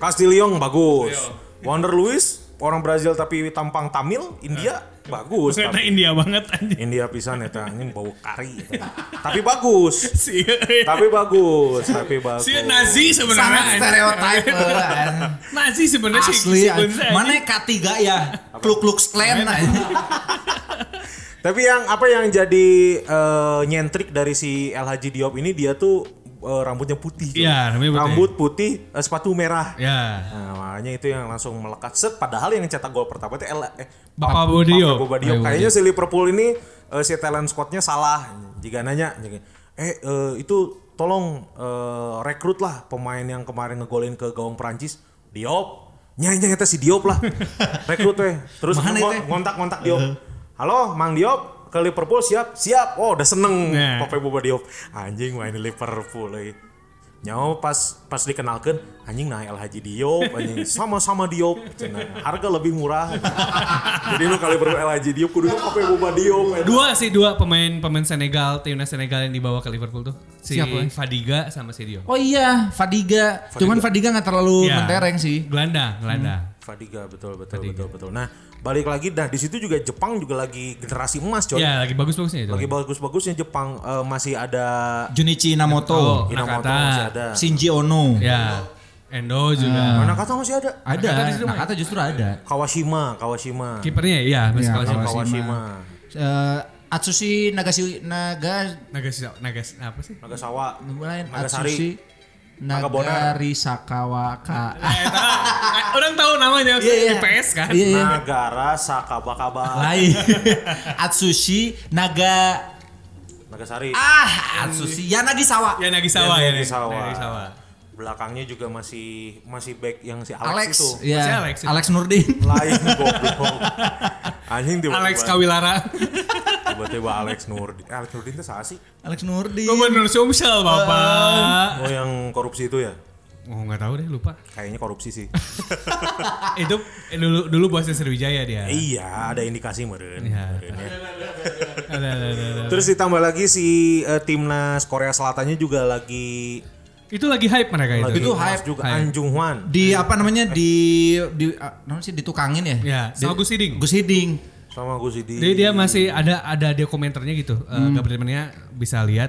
S3: Castillon bagus. Wonder Luis orang Brazil tapi tampang Tamil,
S2: Nah.
S3: India bagus.
S2: Ternyata
S3: Tapi.
S2: India banget anjing.
S3: India pisan eta anjing bau kari eta. tapi bagus.
S2: Si ieu, euy.
S3: Tapi bagus, tapi bagus.
S2: Si ieu iya. Nazi
S1: Sangat
S2: sebenarnya. anjing.
S1: stereotype. lah, anjing.
S2: Nazi sebenarnya Iya. si
S1: Asli.
S2: si
S1: anjing.
S2: Bonsa, anjing.
S1: Mana K3 ya? Kluk-kluk clan anjing.
S3: Tapi yang apa yang jadi eh, nyentrik dari si El Haji Diop ini dia tuh eh, rambutnya putih.
S2: Iya, rambutnya putih.
S3: Rambut putih, eh, sepatu merah.
S2: Ya.
S3: Nah, makanya itu yang langsung melekat set padahal yang cetak gol pertama itu L eh
S2: Bapak
S3: Pap-
S2: Bodio.
S3: Papa Bodio. Kayaknya si Liverpool ini eh, si talent squadnya salah jika nanya jika, eh eh, itu tolong eh, rekrut lah pemain yang kemarin ngegolin ke gawang Perancis Diop nyanyi eta si Diop lah rekrut weh terus
S1: Mana
S3: ngon-
S1: itu? ya?
S3: ngontak-ngontak Diop halo Mang Diop ke Liverpool siap siap oh udah seneng
S2: Nah.
S3: Papa Boba Diop anjing main di Liverpool euy. Nyawa pas pas dikenalkan anjing nah El Haji Diop anjing sama-sama Diop cenah. harga lebih murah jadi lu kali baru El Haji Diop kudu apa yang boba Diop eh.
S2: Dua sih dua pemain pemain Senegal, timnas Senegal yang dibawa ke Liverpool tuh. Si
S1: Siapa?
S2: Fadiga sama si Dio.
S1: Oh iya, Fadiga. Cuman Fadiga nggak terlalu
S2: Ya.
S1: mentereng sih. Hmm.
S2: Gelandang, gelandang.
S3: Fadiga betul betul betul betul nah balik lagi nah di situ juga Jepang juga lagi generasi emas coy
S1: Iya.
S2: Ya, lagi bagus-bagusnya itu.
S3: lagi bagus-bagusnya Jepang eh, masih ada
S1: Junichi Inamoto,
S2: Oh,
S3: Inamoto
S2: Nakata.
S3: masih ada
S1: Shinji Ono.
S2: Ya.
S1: Ah.
S2: Endo juga.
S3: mana kata masih ada
S1: Ada, Nakata justru ada.
S3: Kawashima Kawashima
S2: Kipernya ya, masih
S1: Ya,
S2: kalau siapa.
S1: Kawashima.
S3: Kawashima
S1: Eh, Atsushi Nagashi Naga
S2: Nagas Nagas apa sih?
S3: Nagasawa
S1: lain
S3: Nagasari.
S1: Atsushi
S3: Nagabonar.
S1: Nagari Sakawaka.
S2: Eh, Orang tahu namanya
S1: Iya, iya.
S2: IPS kan?
S1: Iya, iya.
S3: Nagara Sakabakaba
S1: Lain. Atsushi Naga
S3: Nagasari
S1: Ah, Atsushi Yanagisawa.
S2: Ya Nagisawa
S1: Iya,
S2: ya.
S3: Nagisawa.
S2: Nagisawa.
S3: belakangnya juga masih masih back yang si Alex,
S1: Alex,
S3: itu
S1: ya.
S2: Masih
S1: Alex,
S2: Alex Iya. itu.
S1: Nurdin.
S3: lain goblok anjing tiba-tiba
S2: Alex Kawilara.
S3: tiba-tiba Alex Nurdin Eh, Alex Nurdin itu salah sih
S1: Alex Nurdin. Ah.
S2: Gubernur Sumsel, Bapak.
S3: oh yang korupsi itu ya
S2: Oh nggak tahu deh lupa.
S3: Kayaknya korupsi sih.
S2: itu eh, dulu dulu bosnya Sriwijaya dia.
S3: iya, ada indikasi meren.
S2: Iya.
S3: Meren ya.
S2: Ada, ada, ada, ada.
S3: Terus ditambah lagi si eh, timnas Korea Selatannya juga lagi
S2: Itu lagi hype mereka Iya, itu.
S3: lagi
S1: Itu
S3: lemas
S1: hype.
S3: juga
S2: Hype.
S3: Anjung Hwan.
S1: Di apa namanya di di ah, namanya sih ditukangin ya?
S2: Ya, sama
S1: Di-
S2: Gus Hiding.
S1: Gus Hiding.
S3: sama Gus Hidi.
S2: Jadi dia masih ada ada dokumenternya gitu. Hmm. bisa lihat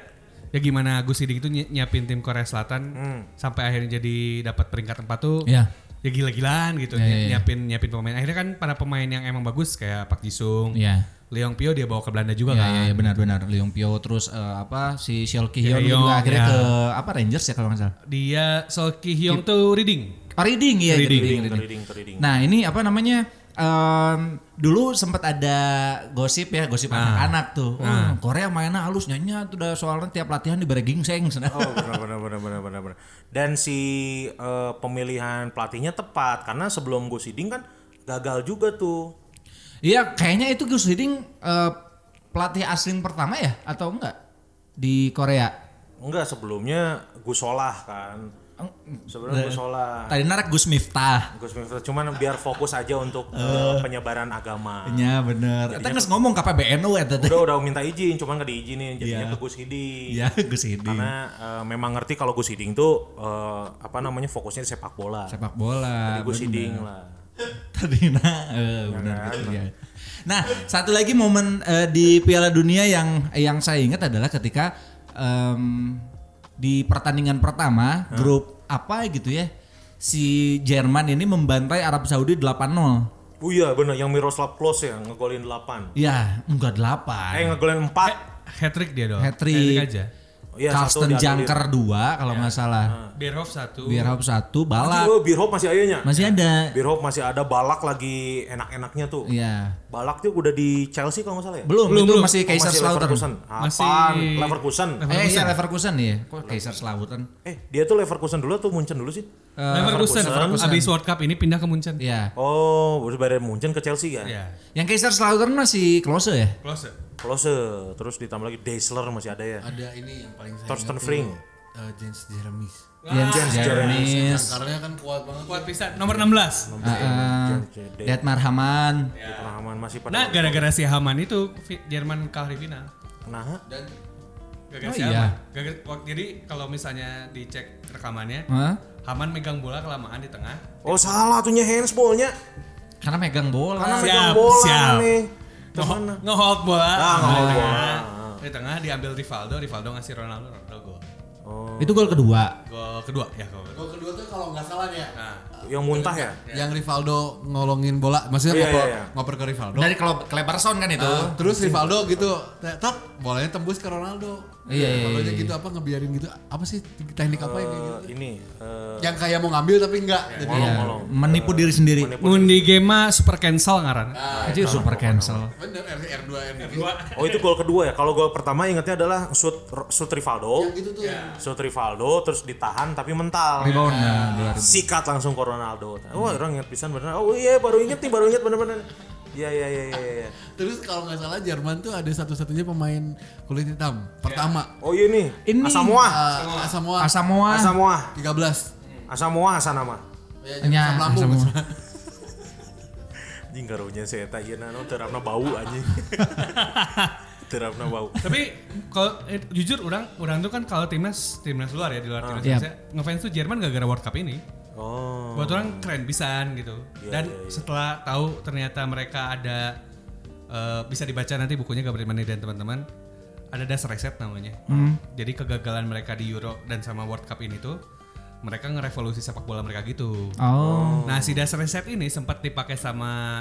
S2: ya gimana Gus Hiding itu nyi- nyiapin tim Korea Selatan sampai akhirnya jadi dapat peringkat 4 tuh.
S1: Hmm. Iya.
S2: Ya gila-gilaan gitu
S1: Iya,
S2: nyi-
S1: iya, iya.
S2: nyiapin nyiapin pemain. Akhirnya kan para pemain yang emang bagus kayak Pak Jisung,
S1: Iya.
S2: Leong Pio dia bawa ke Belanda juga
S1: Iya
S2: kan.
S1: iya iya, benar benar Leung Pio terus eh, apa si Seol Ki Hyun
S2: Ki Hyun,
S1: juga akhirnya
S2: ya.
S1: ke apa Rangers ya kalau nggak salah.
S2: Dia Sol Ki Hyung tuh reading.
S1: Oh, Reading ya
S2: Reading,
S3: trading, trading, trading.
S1: Nah ini apa namanya? em, dulu sempat ada gosip ya gosip
S2: Ah.
S1: anak-anak tuh. Oh, Korea mainnya halus nyanyi tuh udah soalnya tiap latihan di seng.
S3: Oh benar benar benar benar benar benar. Dan si eh, pemilihan pelatihnya tepat karena sebelum Gus Hiding kan gagal juga tuh.
S1: Iya kayaknya itu Gus Hiding eh, pelatih asing pertama ya atau enggak di Korea?
S3: Enggak sebelumnya Gus Solah kan.
S1: eh,
S3: Sebelum Gus Solah.
S1: Tadi narik Gus Miftah.
S3: Gus Miftah cuman biar fokus aja untuk eh, penyebaran agama.
S1: Iya bener. Kita nggak ngomong KPBNU ya tadi.
S3: Udah udah minta izin cuman gak diizinin jadinya ke Gus Hiding.
S1: Iya Gus Hiding.
S3: Karena eh, memang ngerti kalau Gus Hiding tuh eh, apa namanya fokusnya di sepak bola.
S1: Sepak bola.
S3: Gus
S1: bener.
S3: Iya, Hiding lah.
S1: Tadi nah, eh, benar gitu ya. Nah, satu lagi momen eh, di Piala Dunia yang yang saya ingat adalah ketika em, di pertandingan pertama grup apa gitu ya, si Jerman ini membantai Arab Saudi 8-0.
S3: Oh iya bener yang Miroslav Klose ya ngegolin 8.
S1: Ya, enggak
S3: Eh
S1: 8.
S3: ngegolin
S1: Eh,
S3: 4.
S2: Hat trick dia doang.
S1: Hat-trick.
S2: aja.
S3: Oh iya, satu Iya.
S1: Carsten
S3: dianulir.
S1: Jangker 2 kalau nggak salah.
S2: Berhoff satu.
S1: Bierhoff 1, Balak
S3: Oh, Beer Hop masih ayahnya.
S1: masih ada.
S3: Beer Hop masih ada Balak lagi enak-enaknya tuh.
S1: Iya.
S3: Balak tuh udah di Chelsea kalau nggak salah ya?
S1: Belum,
S2: Belum,
S1: itu
S2: belum.
S1: masih
S3: Oh,
S1: Kaiserslautern.
S3: Leverkusen.
S2: Masih-
S3: Apaan? Leverkusen.
S1: Eh, iya Leverkusen ya. Kok Kaiserslautern?
S3: Eh, dia tuh Leverkusen dulu atau Munchen dulu sih?
S2: Leverkusen,
S1: Leverkusen.
S2: abis World Cup ini pindah ke Munchen.
S1: Iya.
S3: Oh, baru dari Munchen ke Chelsea ya?
S2: Iya.
S1: Yang Kaiserslautern masih close ya?
S2: Klose.
S3: Klose, terus ditambah lagi Deisler masih ada ya?
S4: Ada ini yang paling saya
S3: Thorsten
S4: ingat
S3: Fring.
S4: tuh, eh, James Jeremies.
S1: Ah. Jens Jeremis,
S4: Jangkarnya kan kuat banget.
S2: Kuat pisan nomor 16.
S1: Ded Ah, Marhaman.
S3: Pengalaman masih pada.
S2: Nah, gara-gara si Haman itu fi- Jerman kalah di final.
S3: Nah,
S4: Dan
S2: Gara-gara
S1: Oh
S2: si
S1: iya.
S2: Haman. Gara-gara- waktu- jadi kalau misalnya dicek rekamannya,
S1: Hah?
S2: Haman megang bola kelamaan di tengah.
S3: oh salah tuhnya handsballnya.
S1: Karena megang
S3: Karena
S1: bola.
S2: Siap,
S3: megang bola
S2: siap. Oh.
S3: nih.
S2: Nge- Ngehold bola. Ah.
S3: Ah, ngehold
S2: Di
S3: bola.
S2: tengah. Di tengah diambil Rivaldo, Rivaldo ngasih Ronaldo, Ronaldo gol.
S3: Oh,
S1: Itu gol kedua.
S2: Gol kedua ya kalau.
S4: gol kedua tuh kalau nggak salah nih ya.
S2: Nah,
S3: yang muntah ya?
S1: iya.
S4: Yang Rivaldo ngolongin bola, maksudnya
S3: Iya,
S4: ngoper,
S3: iya, iya.
S4: ngoper ke Rivaldo.
S1: Dari klub Kleberson kan itu.
S4: Nah, terus Rivaldo gitu, tek, tek, bolanya tembus ke Ronaldo.
S1: Iya, iya,
S4: Rivaldonya
S1: iya.
S4: gitu apa ngebiarin gitu, apa sih teknik apa yang kayak gitu?
S3: Eh, ini eh,
S4: Yang kayak mau ngambil tapi enggak. Jadi
S1: Iya, Menipu diri sendiri.
S2: Mundi Gema super cancel ngaran.
S1: Itu super cancel.
S4: bener R R2 R2.
S3: Oh itu gol kedua ya. Kalau gol pertama ingatnya adalah shoot shoot Rivaldo,
S4: Yang gitu tuh.
S3: shoot Rivaldo terus ditahan tapi mental.
S1: Rebound nah, dua ribu.
S3: Sikat langsung ke Ronaldo. Wah orang ingat pisan bener. Oh iya baru inget nih baru inget bener-bener. Iya iya iya iya. iya.
S4: Terus kalau nggak salah Jerman tuh ada satu-satunya pemain kulit hitam pertama.
S3: Oh iya nih.
S1: Ini.
S3: Asamoah.
S4: Eh,
S1: Ah.
S4: Samoa
S1: Asamoah.
S3: Asamoah.
S4: 13.
S3: Asamoah asal nama.
S4: Ya,
S1: Nya,
S4: asam lambung.
S1: Asamoah.
S3: Anjing garunya saya tak iya nano terapna bau anjing. terapna bau.
S2: Tapi kalau eh, jujur orang orang tuh kan kalau timnas timnas luar ya di luar timnas
S1: Yap.
S2: Indonesia ngefans tuh Jerman gara-gara World Cup ini.
S3: Oh.
S2: Buat orang keren pisan gitu. Dan setelah tahu ternyata mereka ada eh, bisa dibaca nanti bukunya Gabriel Mane dan teman-teman ada dasar reset namanya.
S1: Hmm.
S2: Jadi kegagalan mereka di Euro dan sama World Cup ini tuh mereka ngerevolusi sepak bola mereka gitu.
S1: Oh.
S2: Nah, si dasar reset ini sempat dipakai sama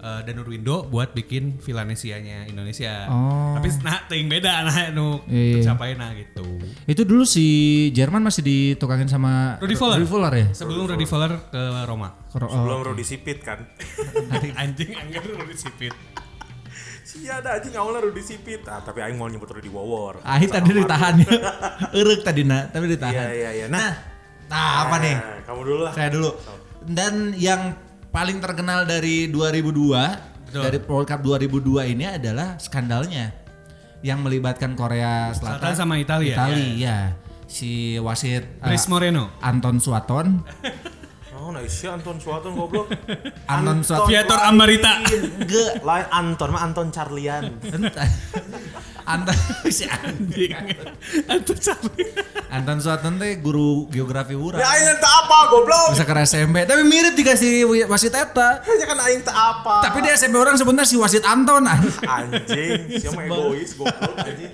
S2: eh, Danur Window buat bikin Villanesia-nya Indonesia.
S1: Oh.
S2: Tapi nah ting beda nah nu
S1: Iya, iya.
S2: tercapai nah gitu.
S1: Itu dulu si Jerman masih ditukangin sama
S2: Rudi Voller.
S1: Rudi Voller ya?
S2: Sebelum Rudi Voller ke Roma.
S1: Kor- oh.
S3: Belum Rudi Sipit kan.
S2: Anjing anggar Rudi Sipit.
S3: Iya ada anjing awalnya Rudi Sipit. Ah, tapi aing mau nyebut Rudi Wawor.
S1: Ah, ini tadi ditahan ya. Erek tadi nak, tapi
S3: Iya
S1: ditahan.
S3: iya iya.
S1: Nah,
S3: Nah,
S1: nah apa nih?
S3: nah, kamu dulu lah.
S1: Saya dulu. Dan yang paling terkenal dari 2002
S2: Betul.
S1: dari World Cup 2002 ini adalah skandalnya yang melibatkan Korea Selatan,
S2: Selatan sama Italia.
S1: Italia. ya. si wasit eh,
S2: Chris Moreno.
S1: Anton Suaton.
S3: Oh, nah isi Anton Suaton goblok.
S1: Anton Suaton.
S2: Viator Ambarita.
S1: Ge-
S3: Lain Anton mah Anton Charlian.
S1: Entah. Anton si anjing.
S2: Anton Sabrina.
S1: Anton Suaton teh guru geografi
S3: Ya
S1: urang.
S3: aing tak apa goblok.
S1: Bisa ke SMP, tapi mirip juga si wasit eta.
S3: Hanya kan aing tak apa.
S1: Tapi di SMP orang sebutnya si wasit Anton. anjing.
S3: anjing, siapa egois goblok anjing.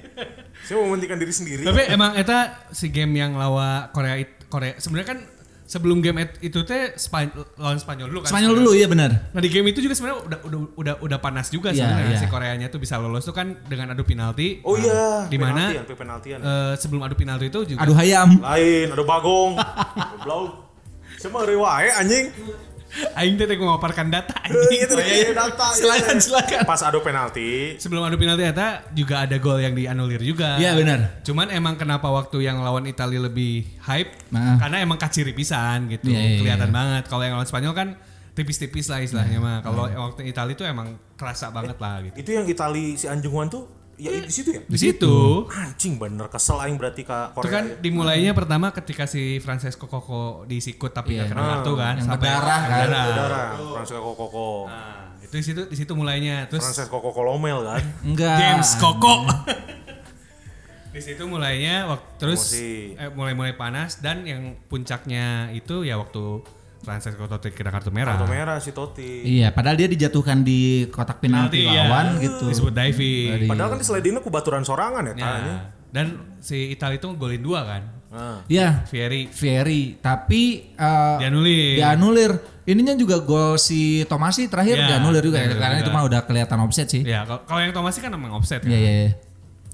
S3: Siapa mementingkan diri sendiri.
S2: Tapi emang eta si game yang lawa Korea it- Korea. Sebenarnya kan sebelum game et- itu teh Span- lawan Spanyol dulu kan.
S1: Spanyol dulu ya benar.
S2: Nah di game itu juga sebenarnya udah udah udah udah panas juga
S1: Iya,
S2: sebenarnya
S1: iya.
S2: si Koreanya tuh bisa lolos tuh kan dengan adu penalti. Nah,
S3: Oh iya,
S2: Di mana
S3: penaltian, penaltian.
S2: eh, sebelum adu penalti itu juga
S1: Aduh hayam.
S3: Lain, ada bagong. goblok. Siapa hari wae anjing?
S2: aing teh teh ngoparkan data
S3: Eh,
S2: anjing.
S3: Itu dia data. gitu.
S1: Silakan, silakan.
S3: Pas adu penalti,
S2: Sebelum adu penalti eta juga ada gol yang dianulir juga.
S1: Iya, benar.
S2: Cuman emang kenapa waktu yang lawan Italia lebih hype?
S1: Nah.
S2: Karena emang kaciri pisan gitu.
S1: Iya, iya,
S2: Kelihatan
S1: iya.
S2: banget. Kalau yang lawan Spanyol kan tipis-tipis lah istilahnya mah. Kalau
S1: Iya.
S2: waktu Italia itu emang kerasa banget lah gitu.
S3: itu yang Itali si Anjung Wan tuh ya di situ ya.
S2: Di situ
S3: Anjing bener kesel aing berarti ke
S2: itu
S3: Korea.
S2: kan
S3: ya.
S2: dimulainya pertama ketika si Francesco Coco disikut tapi
S1: Iya.
S2: nggak kena kartu kan
S1: Yang berdarah kan.
S2: berdarah.
S3: Darah, Francesco Coco.
S2: Nah, itu di situ di situ mulainya terus
S3: Francesco Coco Lomel kan.
S1: Enggak.
S2: James Koko. di situ mulainya waktu terus
S3: Emosi.
S2: eh, mulai-mulai panas dan yang puncaknya itu ya waktu Francesco Totti kena kartu merah.
S3: Kartu merah si Totti.
S1: Iya, padahal dia dijatuhkan di kotak penalti
S2: Penalti, ya.
S1: lawan gitu.
S2: Disebut diving.
S3: Padahal kan diseledinnya ku baturan sorangan ya tanya.
S2: Nah, dan si Italia itu golin dua kan.
S3: Nah.
S1: Iya,
S2: Fieri
S1: Fieri, tapi eh,
S2: dianulir.
S1: dianulir. Ininya juga gol si Tomasi terakhir
S2: Iya,
S1: dianulir juga Iya. ya,
S2: dianulir
S1: karena
S2: juga.
S1: itu mah udah kelihatan offset sih.
S2: Ya, kalau- kalau yang Thomas kan emang offset kan.
S1: Iya, iya, iya.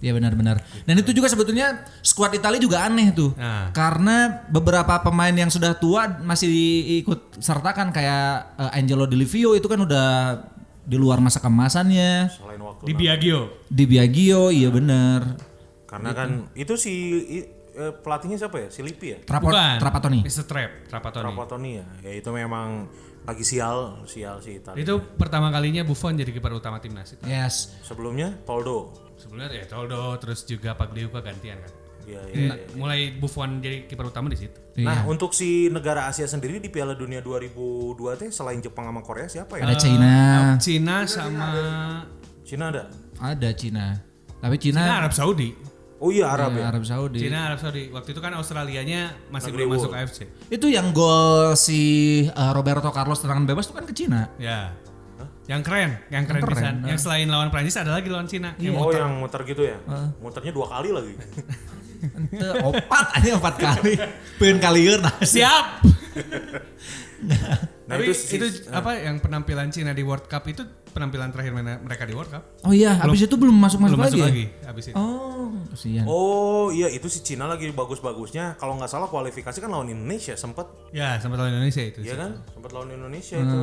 S1: Iya benar-benar. Dan itu juga sebetulnya skuad Italia juga aneh tuh.
S2: Nah.
S1: Karena beberapa pemain yang sudah tua masih ikut sertakan kayak eh, Angelo Di Livio itu kan udah di luar masa kemasannya.
S3: Selain waktu.
S2: Di Biagio.
S1: Di Biagio, iya bener.
S3: Karena kan itu si i- eh, pelatihnya siapa ya? Si Lippi ya?
S1: Trapo-
S2: Bukan.
S1: Trapattoni.
S2: Mr. Trap, Trapatoni.
S3: Rapatoni ya. Ya itu memang lagi sial, sial si Italia.
S2: Itu pertama kalinya Buffon jadi kiper utama timnas.
S1: Yes.
S3: Sebelumnya Toldo.
S2: Sebelumnya ya Toldo, terus juga Pagliuca gantian kan.
S3: Iya, iya.
S2: Ya, mulai Buffon jadi kiper utama di situ.
S1: Iya.
S3: Nah,
S2: oh,
S3: untuk si negara Asia sendiri di Piala Dunia 2002 teh selain Jepang sama Korea siapa
S2: eh,
S3: ya?
S1: Ada China.
S2: Cina sama
S3: Cina ada.
S1: Ada Cina. Tapi
S2: Cina
S1: Cina,
S2: Arab Saudi.
S3: Oh iya Arab
S1: ya,
S3: ya.
S1: Arab Saudi.
S2: Cina Arab Saudi. Waktu itu kan Australianya masih
S3: Negeri
S2: belum masuk
S3: World.
S2: AFC.
S1: Itu yang gol si eh, Roberto Carlos tendangan bebas itu kan ke Cina.
S2: Ya. Yang keren, yang keren,
S1: keren,
S2: pisan.
S1: nah.
S2: Yang selain lawan Prancis ada lagi lawan Cina. Yang
S3: Oh
S2: muter.
S3: yang muter gitu ya? Muternya dua kali lagi.
S1: Ente opat aja opat kali. Peun kalieur nah.
S2: Siap.
S3: Nah,
S2: Tapi
S3: itu
S2: itu,
S3: si-
S2: apa yang penampilan Cina di World Cup itu penampilan terakhir mana- mereka di World Cup.
S1: Oh iya, habis itu belum masuk-masuk
S2: Belum
S1: lagi.
S2: masuk
S1: ya?
S2: lagi, abis itu.
S1: Oh, kasihan.
S3: Oh iya itu si Cina lagi bagus-bagusnya. Kalau nggak salah kualifikasi kan lawan Indonesia sempet,
S2: Ya, sampai lawan Indonesia itu.
S3: iya
S2: sih.
S3: kan? Sempet lawan Indonesia itu.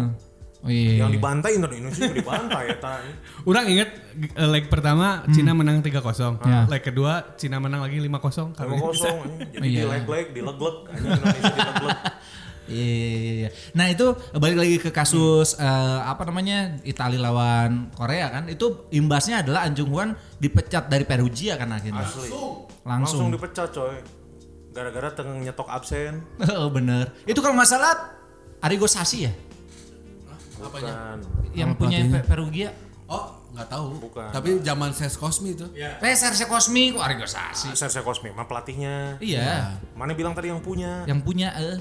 S1: Oh iya.
S3: Yang dibantai Indonesia juga dibantai ya. Tan.
S2: Orang inget g- eh, leg pertama Cina menang 3-0. Leg kedua Cina menang lagi 5-0. Kali
S3: Emang
S2: ini bisa.
S3: kosong, anjing. jadi dileg-leg, dileg-leg, anjing Indonesia dileg-leg.
S1: Iya, iya, iya, iya. Nah itu balik lagi ke kasus eh, apa namanya Italia lawan Korea kan itu imbasnya adalah Anjung Hwan dipecat dari Perugia kan akhirnya.
S3: Asli.
S1: Langsung.
S3: Langsung dipecat coy. Gara-gara tengah nyetok absen.
S1: Oh, Bener. Itu kalau nggak salah Arrigo Sassi ya
S3: Bukan.
S1: yang punya Pe- Perugia.
S4: Oh, nggak tahu.
S3: Bukan.
S4: Tapi zaman Ses Cosmi itu.
S1: Eh Serse Cosmi kok Arrigo Sassi.
S3: Serse Cosmi mah pelatihnya.
S1: Iya,
S3: Mana bilang tadi yang punya?
S1: yang punya eh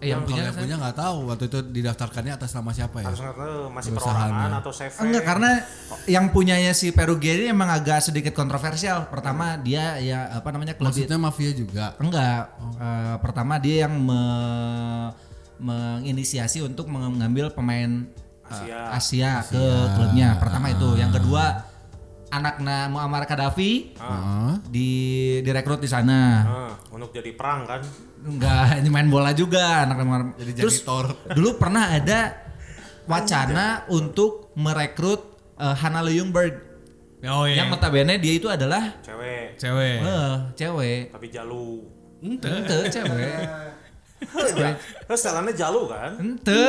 S1: eh, yang,
S4: Kalau
S1: punya,
S4: yang punya nggak tahu waktu itu didaftarkannya atas nama siapa ya?
S3: Harus nggak tahu masih
S4: Perusahaan
S3: perorangan
S4: ya.
S3: atau CV.
S1: Enggak karena yang punyanya si Perugia ini emang agak sedikit kontroversial. Pertama dia ya apa namanya klub
S4: Maksudnya mafia juga.
S1: Enggak. Eh, pertama dia yang me- menginisiasi untuk mengambil pemain eh,
S3: Asia.
S1: Asia, ke klubnya.
S4: Ah.
S1: Pertama itu. Yang kedua anaknya Muammar Gaddafi
S4: Heeh.
S1: di direkrut di sana.
S3: Nah, untuk jadi perang kan.
S1: Enggak, ini main bola juga anaknya Muammar.
S4: Jadi
S1: Terus
S4: janitor.
S1: dulu pernah ada wacana untuk merekrut eh, Hannah Ljungberg
S2: Oh iya.
S1: yang notabene dia itu adalah
S3: Cewek
S2: Cewek.
S1: eh, cewek.
S3: tapi jalu.
S2: Ente.
S1: Ente cewek.
S3: Ya, Terus jalannya jalu kan. gitu?
S1: Ente.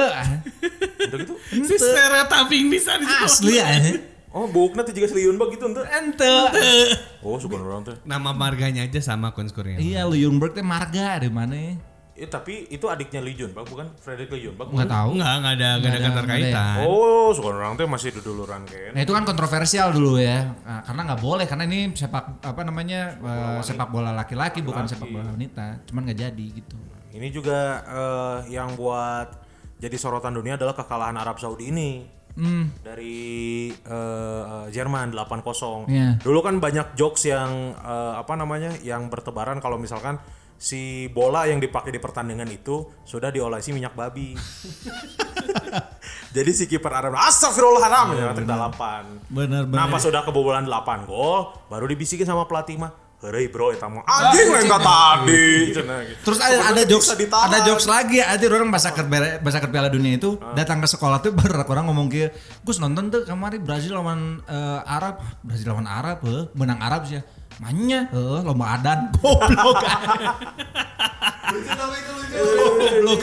S3: Untuk itu
S2: Si stereotyping bisa di situ.
S1: Asli ya.
S3: Oh, bukna tuh juga seriun bag gitu ente.
S1: Ente.
S3: Oh, sugan orang teh.
S2: Nama marganya aja sama Kun Kurniawan.
S1: Iya, Luyunberg teh marga dari mana? ya?
S3: Eh, tapi itu adiknya Lee Junbak bukan Frederick Lee Junbak.
S1: Enggak tahu.
S2: Enggak, enggak ada enggak ada
S1: Nggak ada- ya?
S2: keterkaitan.
S3: Oh, sugan orang teh masih duduluran kan.
S1: Nah itu kan kontroversial dulu ya, Nah, karena nggak boleh karena ini sepak apa namanya eh, sepak bola laki-laki bukan sepak bola wanita, cuman nggak jadi gitu.
S3: Ini juga eh, yang buat jadi sorotan dunia adalah kekalahan Arab Saudi ini. Dari eh, Jerman 8-0.
S1: Iya.
S3: Dulu kan banyak jokes yang eh, apa namanya? yang bertebaran kalau misalkan si bola yang dipakai di pertandingan itu sudah diolesi minyak babi. Jadi si kiper Arab astagfirullahaladzim nyetak dalapan.
S1: Bener
S3: Nah pas udah kebobolan 8 gol baru dibisikin sama pelatih mah Hei bro, eta mah anjing yang tadi. Cenah gitu.
S1: Terus ada, ada
S3: Sebenarnya
S1: jokes,
S3: bisa ditahan.
S1: ada jokes lagi. Ada orang bahasa ke bahasa ke Piala Dunia itu
S3: Ah.
S1: datang ke sekolah tuh baru orang ngomong ke, Gus nonton tuh kemarin Brazil lawan eh, Arab, Brazil lawan Arab, heh. menang Arab sih ya. Manya, heh, lomba adan, goblok. Goblok.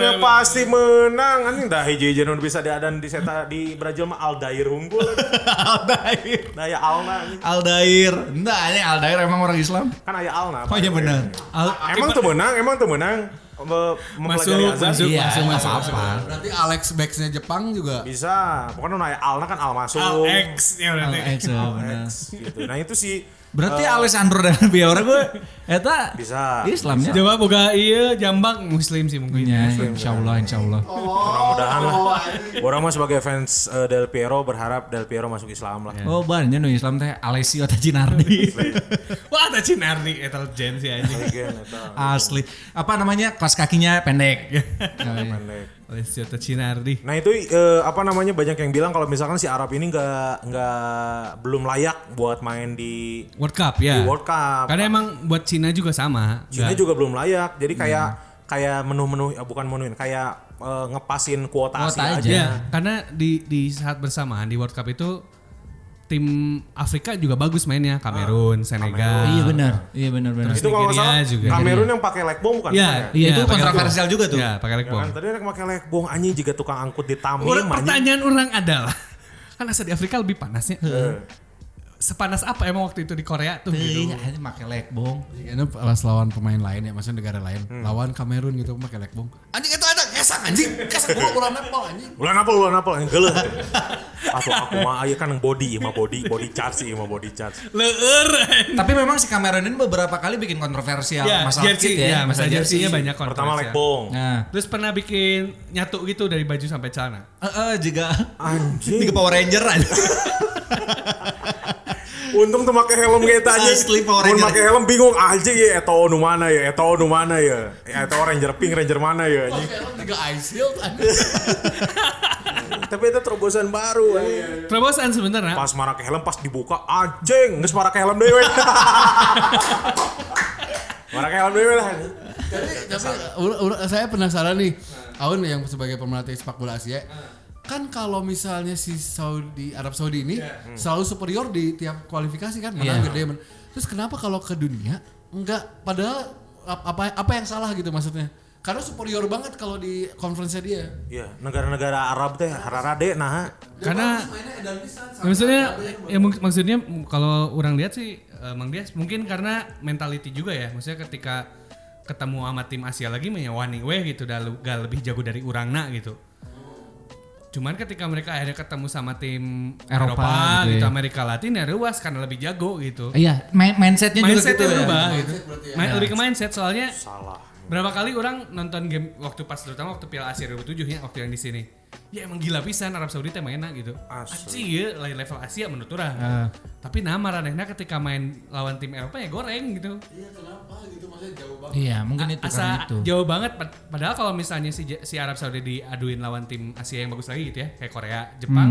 S3: Ya pasti menang anjing dah hiji hiji bisa diadan di seta di Brazil mah Aldair unggul.
S1: Aldair.
S3: Nah ya Alna anjing.
S1: Aldair. Enggak, ini Aldair emang orang Islam.
S3: kan aya Alna.
S1: Oh iya benar. Al-
S3: Emang tuh menang, emang tuh menang. Me- Mempelajari
S2: Masuk,
S3: azan
S2: masuk,
S1: Iya,
S2: masuk,
S1: nggak
S2: masuk,
S1: apa-apa.
S2: masuk.
S4: Berarti Iya. Alex Backsnya Jepang juga.
S3: bisa. Pokoknya nah ya Alna kan Al masuk.
S2: Alex ya berarti.
S1: Al- Ex, oh, benar.
S3: Gitu. Nah itu sih
S1: Berarti Alessandro dan Biora gue eta
S3: Eh. Bisa.
S1: Islamnya.
S2: Coba boga iya jambak muslim sih mungkin.
S1: Ya, insya Allah, insya Allah.
S3: Oh, mudah-mudahan lah. Orang mah sebagai fans eh, Del Piero berharap Del Piero masuk Islam lah.
S1: Oh banyak nu Islam teh Alessio teh Jinardi.
S2: Wah, ada Cinardi etal Jen sih anjing.
S3: Again, eta.
S1: Asli. Apa namanya? Pas kakinya pendek.
S4: Iya,
S3: Pendek.
S2: Alessio Cinardi.
S3: Nah itu eh, apa namanya banyak yang bilang kalau misalkan si Arab ini nggak nggak belum layak buat main di,
S2: World Cup ya.
S3: di Iya, World Cup.
S2: Karena Iya. emang buat Cina juga sama.
S3: Cina
S2: Nggak-
S3: juga belum layak. Jadi kayak
S2: Iya.
S3: kayak menu-menu eh, bukan menuin kayak eh, ngepasin kuota,
S1: Kuota
S3: Asia aja.
S1: aja.
S2: Ya, karena di di saat bersamaan di World Cup itu tim Afrika juga bagus mainnya, Kamerun, Senegal.
S1: Iya benar. Iya benar benar.
S3: Itu kalau nggak salah
S2: Nigeria juga.
S3: Kamerun yang pakai legbong bukan?
S2: Iya,
S3: Bukan ya?
S1: Iya, itu
S2: pakai
S1: kontroversial
S2: legbong.
S1: juga tuh.
S2: Iya, pakai legbong.
S3: Kan tadi yang pakai legbong anjing juga tukang angkut di Tamim
S2: Orang
S3: anjing.
S2: pertanyaan orang adalah kan asal di Afrika lebih panasnya.
S3: Eh,
S2: Sepanas apa emang waktu itu di Korea tuh gitu.
S1: Iya, ini make lekbong.
S4: Ini pas lawan pemain lain ya, maksudnya negara lain.
S1: Hmm.
S4: Lawan Kamerun gitu pakai lekbong. Anjing itu ada kesang anjing. Kesang gua bola nepal anjing.
S3: Ulan apa ulan apa yang geuleuh. Atau aku mah aya kan body mah body body charge iya mah body charge.
S2: Leur.
S1: Tapi memang si Cameron ini beberapa kali bikin kontroversial
S2: Ya,
S1: masalah
S2: jersey,
S1: kit ya,
S2: ya, masalah jersey-nya
S1: jersey.
S2: banyak kontroversial.
S3: Pertama legbong.
S1: Nah,
S2: Terus pernah bikin nyatu gitu dari baju sampai celana.
S1: eh eh, juga
S3: Anjing.
S1: tiga Power Ranger aja.
S3: Untung tuh pakai helm kayak tanya.
S1: Asli Power
S3: Mun
S1: Ranger.
S3: pakai helm bingung anjing ya eta nu mana ya, eta nu mana ya. Ya, Eta Ranger pink, Ranger mana ya anjing.
S4: Kayak lu tiga ice shield anjing.
S3: Tapi itu terobosan baru anjing.
S2: Terobosan sebenarnya.
S3: Oh, Pas marah ke helm pas dibuka anjing, geus marah ke helm deui. we. Marah ke helm deui we lah.
S4: tapi tapi ur- ur- saya penasaran nih Aun yang sebagai pemerhati sepak bola Asia kan kalau misalnya si Saudi Arab Saudi ini selalu superior di tiap kualifikasi kan menang
S1: Iya.
S4: gede men- terus kenapa kalau ke dunia enggak padahal ap- apa apa yang salah gitu maksudnya karena superior banget kalau di konferensinya dia
S3: Iya, negara-negara Arab teh hararade nah.
S2: Karena
S4: mainnya edan pisan, sama
S2: maksudnya
S4: Arabnya.
S2: ya mung- maksudnya m- kalau orang lihat sih eh, Mang Dias mungkin karena mentality juga ya. Maksudnya ketika ketemu sama tim Asia lagi menyewani weh gitu dah lu- gak lebih jago dari urangna gitu. Cuman ketika mereka akhirnya ketemu sama tim Eropa,
S1: Eropa gitu
S2: gitu,
S1: ya.
S2: Amerika Latin ya ruas karena lebih jago gitu.
S1: Iya, main- mindsetnya juga gitu
S2: Mindsetnya
S1: ya. Nah.
S2: berubah gitu. Main- Lebih ke mindset soalnya
S3: Salah.
S2: Berapa kali orang nonton game waktu pas terutama waktu Piala Asia 2007 ya waktu yang di sini. Ya emang gila pisan Arab Saudi teh mainna gitu.
S3: Asli.
S2: Acih ya lain level Asia menurut orang.
S1: Ah.
S2: Tapi nah maranehna ketika main lawan tim Eropa ya goreng gitu.
S4: iya kenapa gitu maksudnya jauh banget
S1: Iya, mungkin itu karena
S2: Asa
S1: itu.
S2: jauh banget pad- padahal kalau misalnya si, Ja- si Arab Saudi diaduin lawan tim Asia yang bagus lagi gitu ya kayak Korea,
S1: Hmm.
S2: Jepang.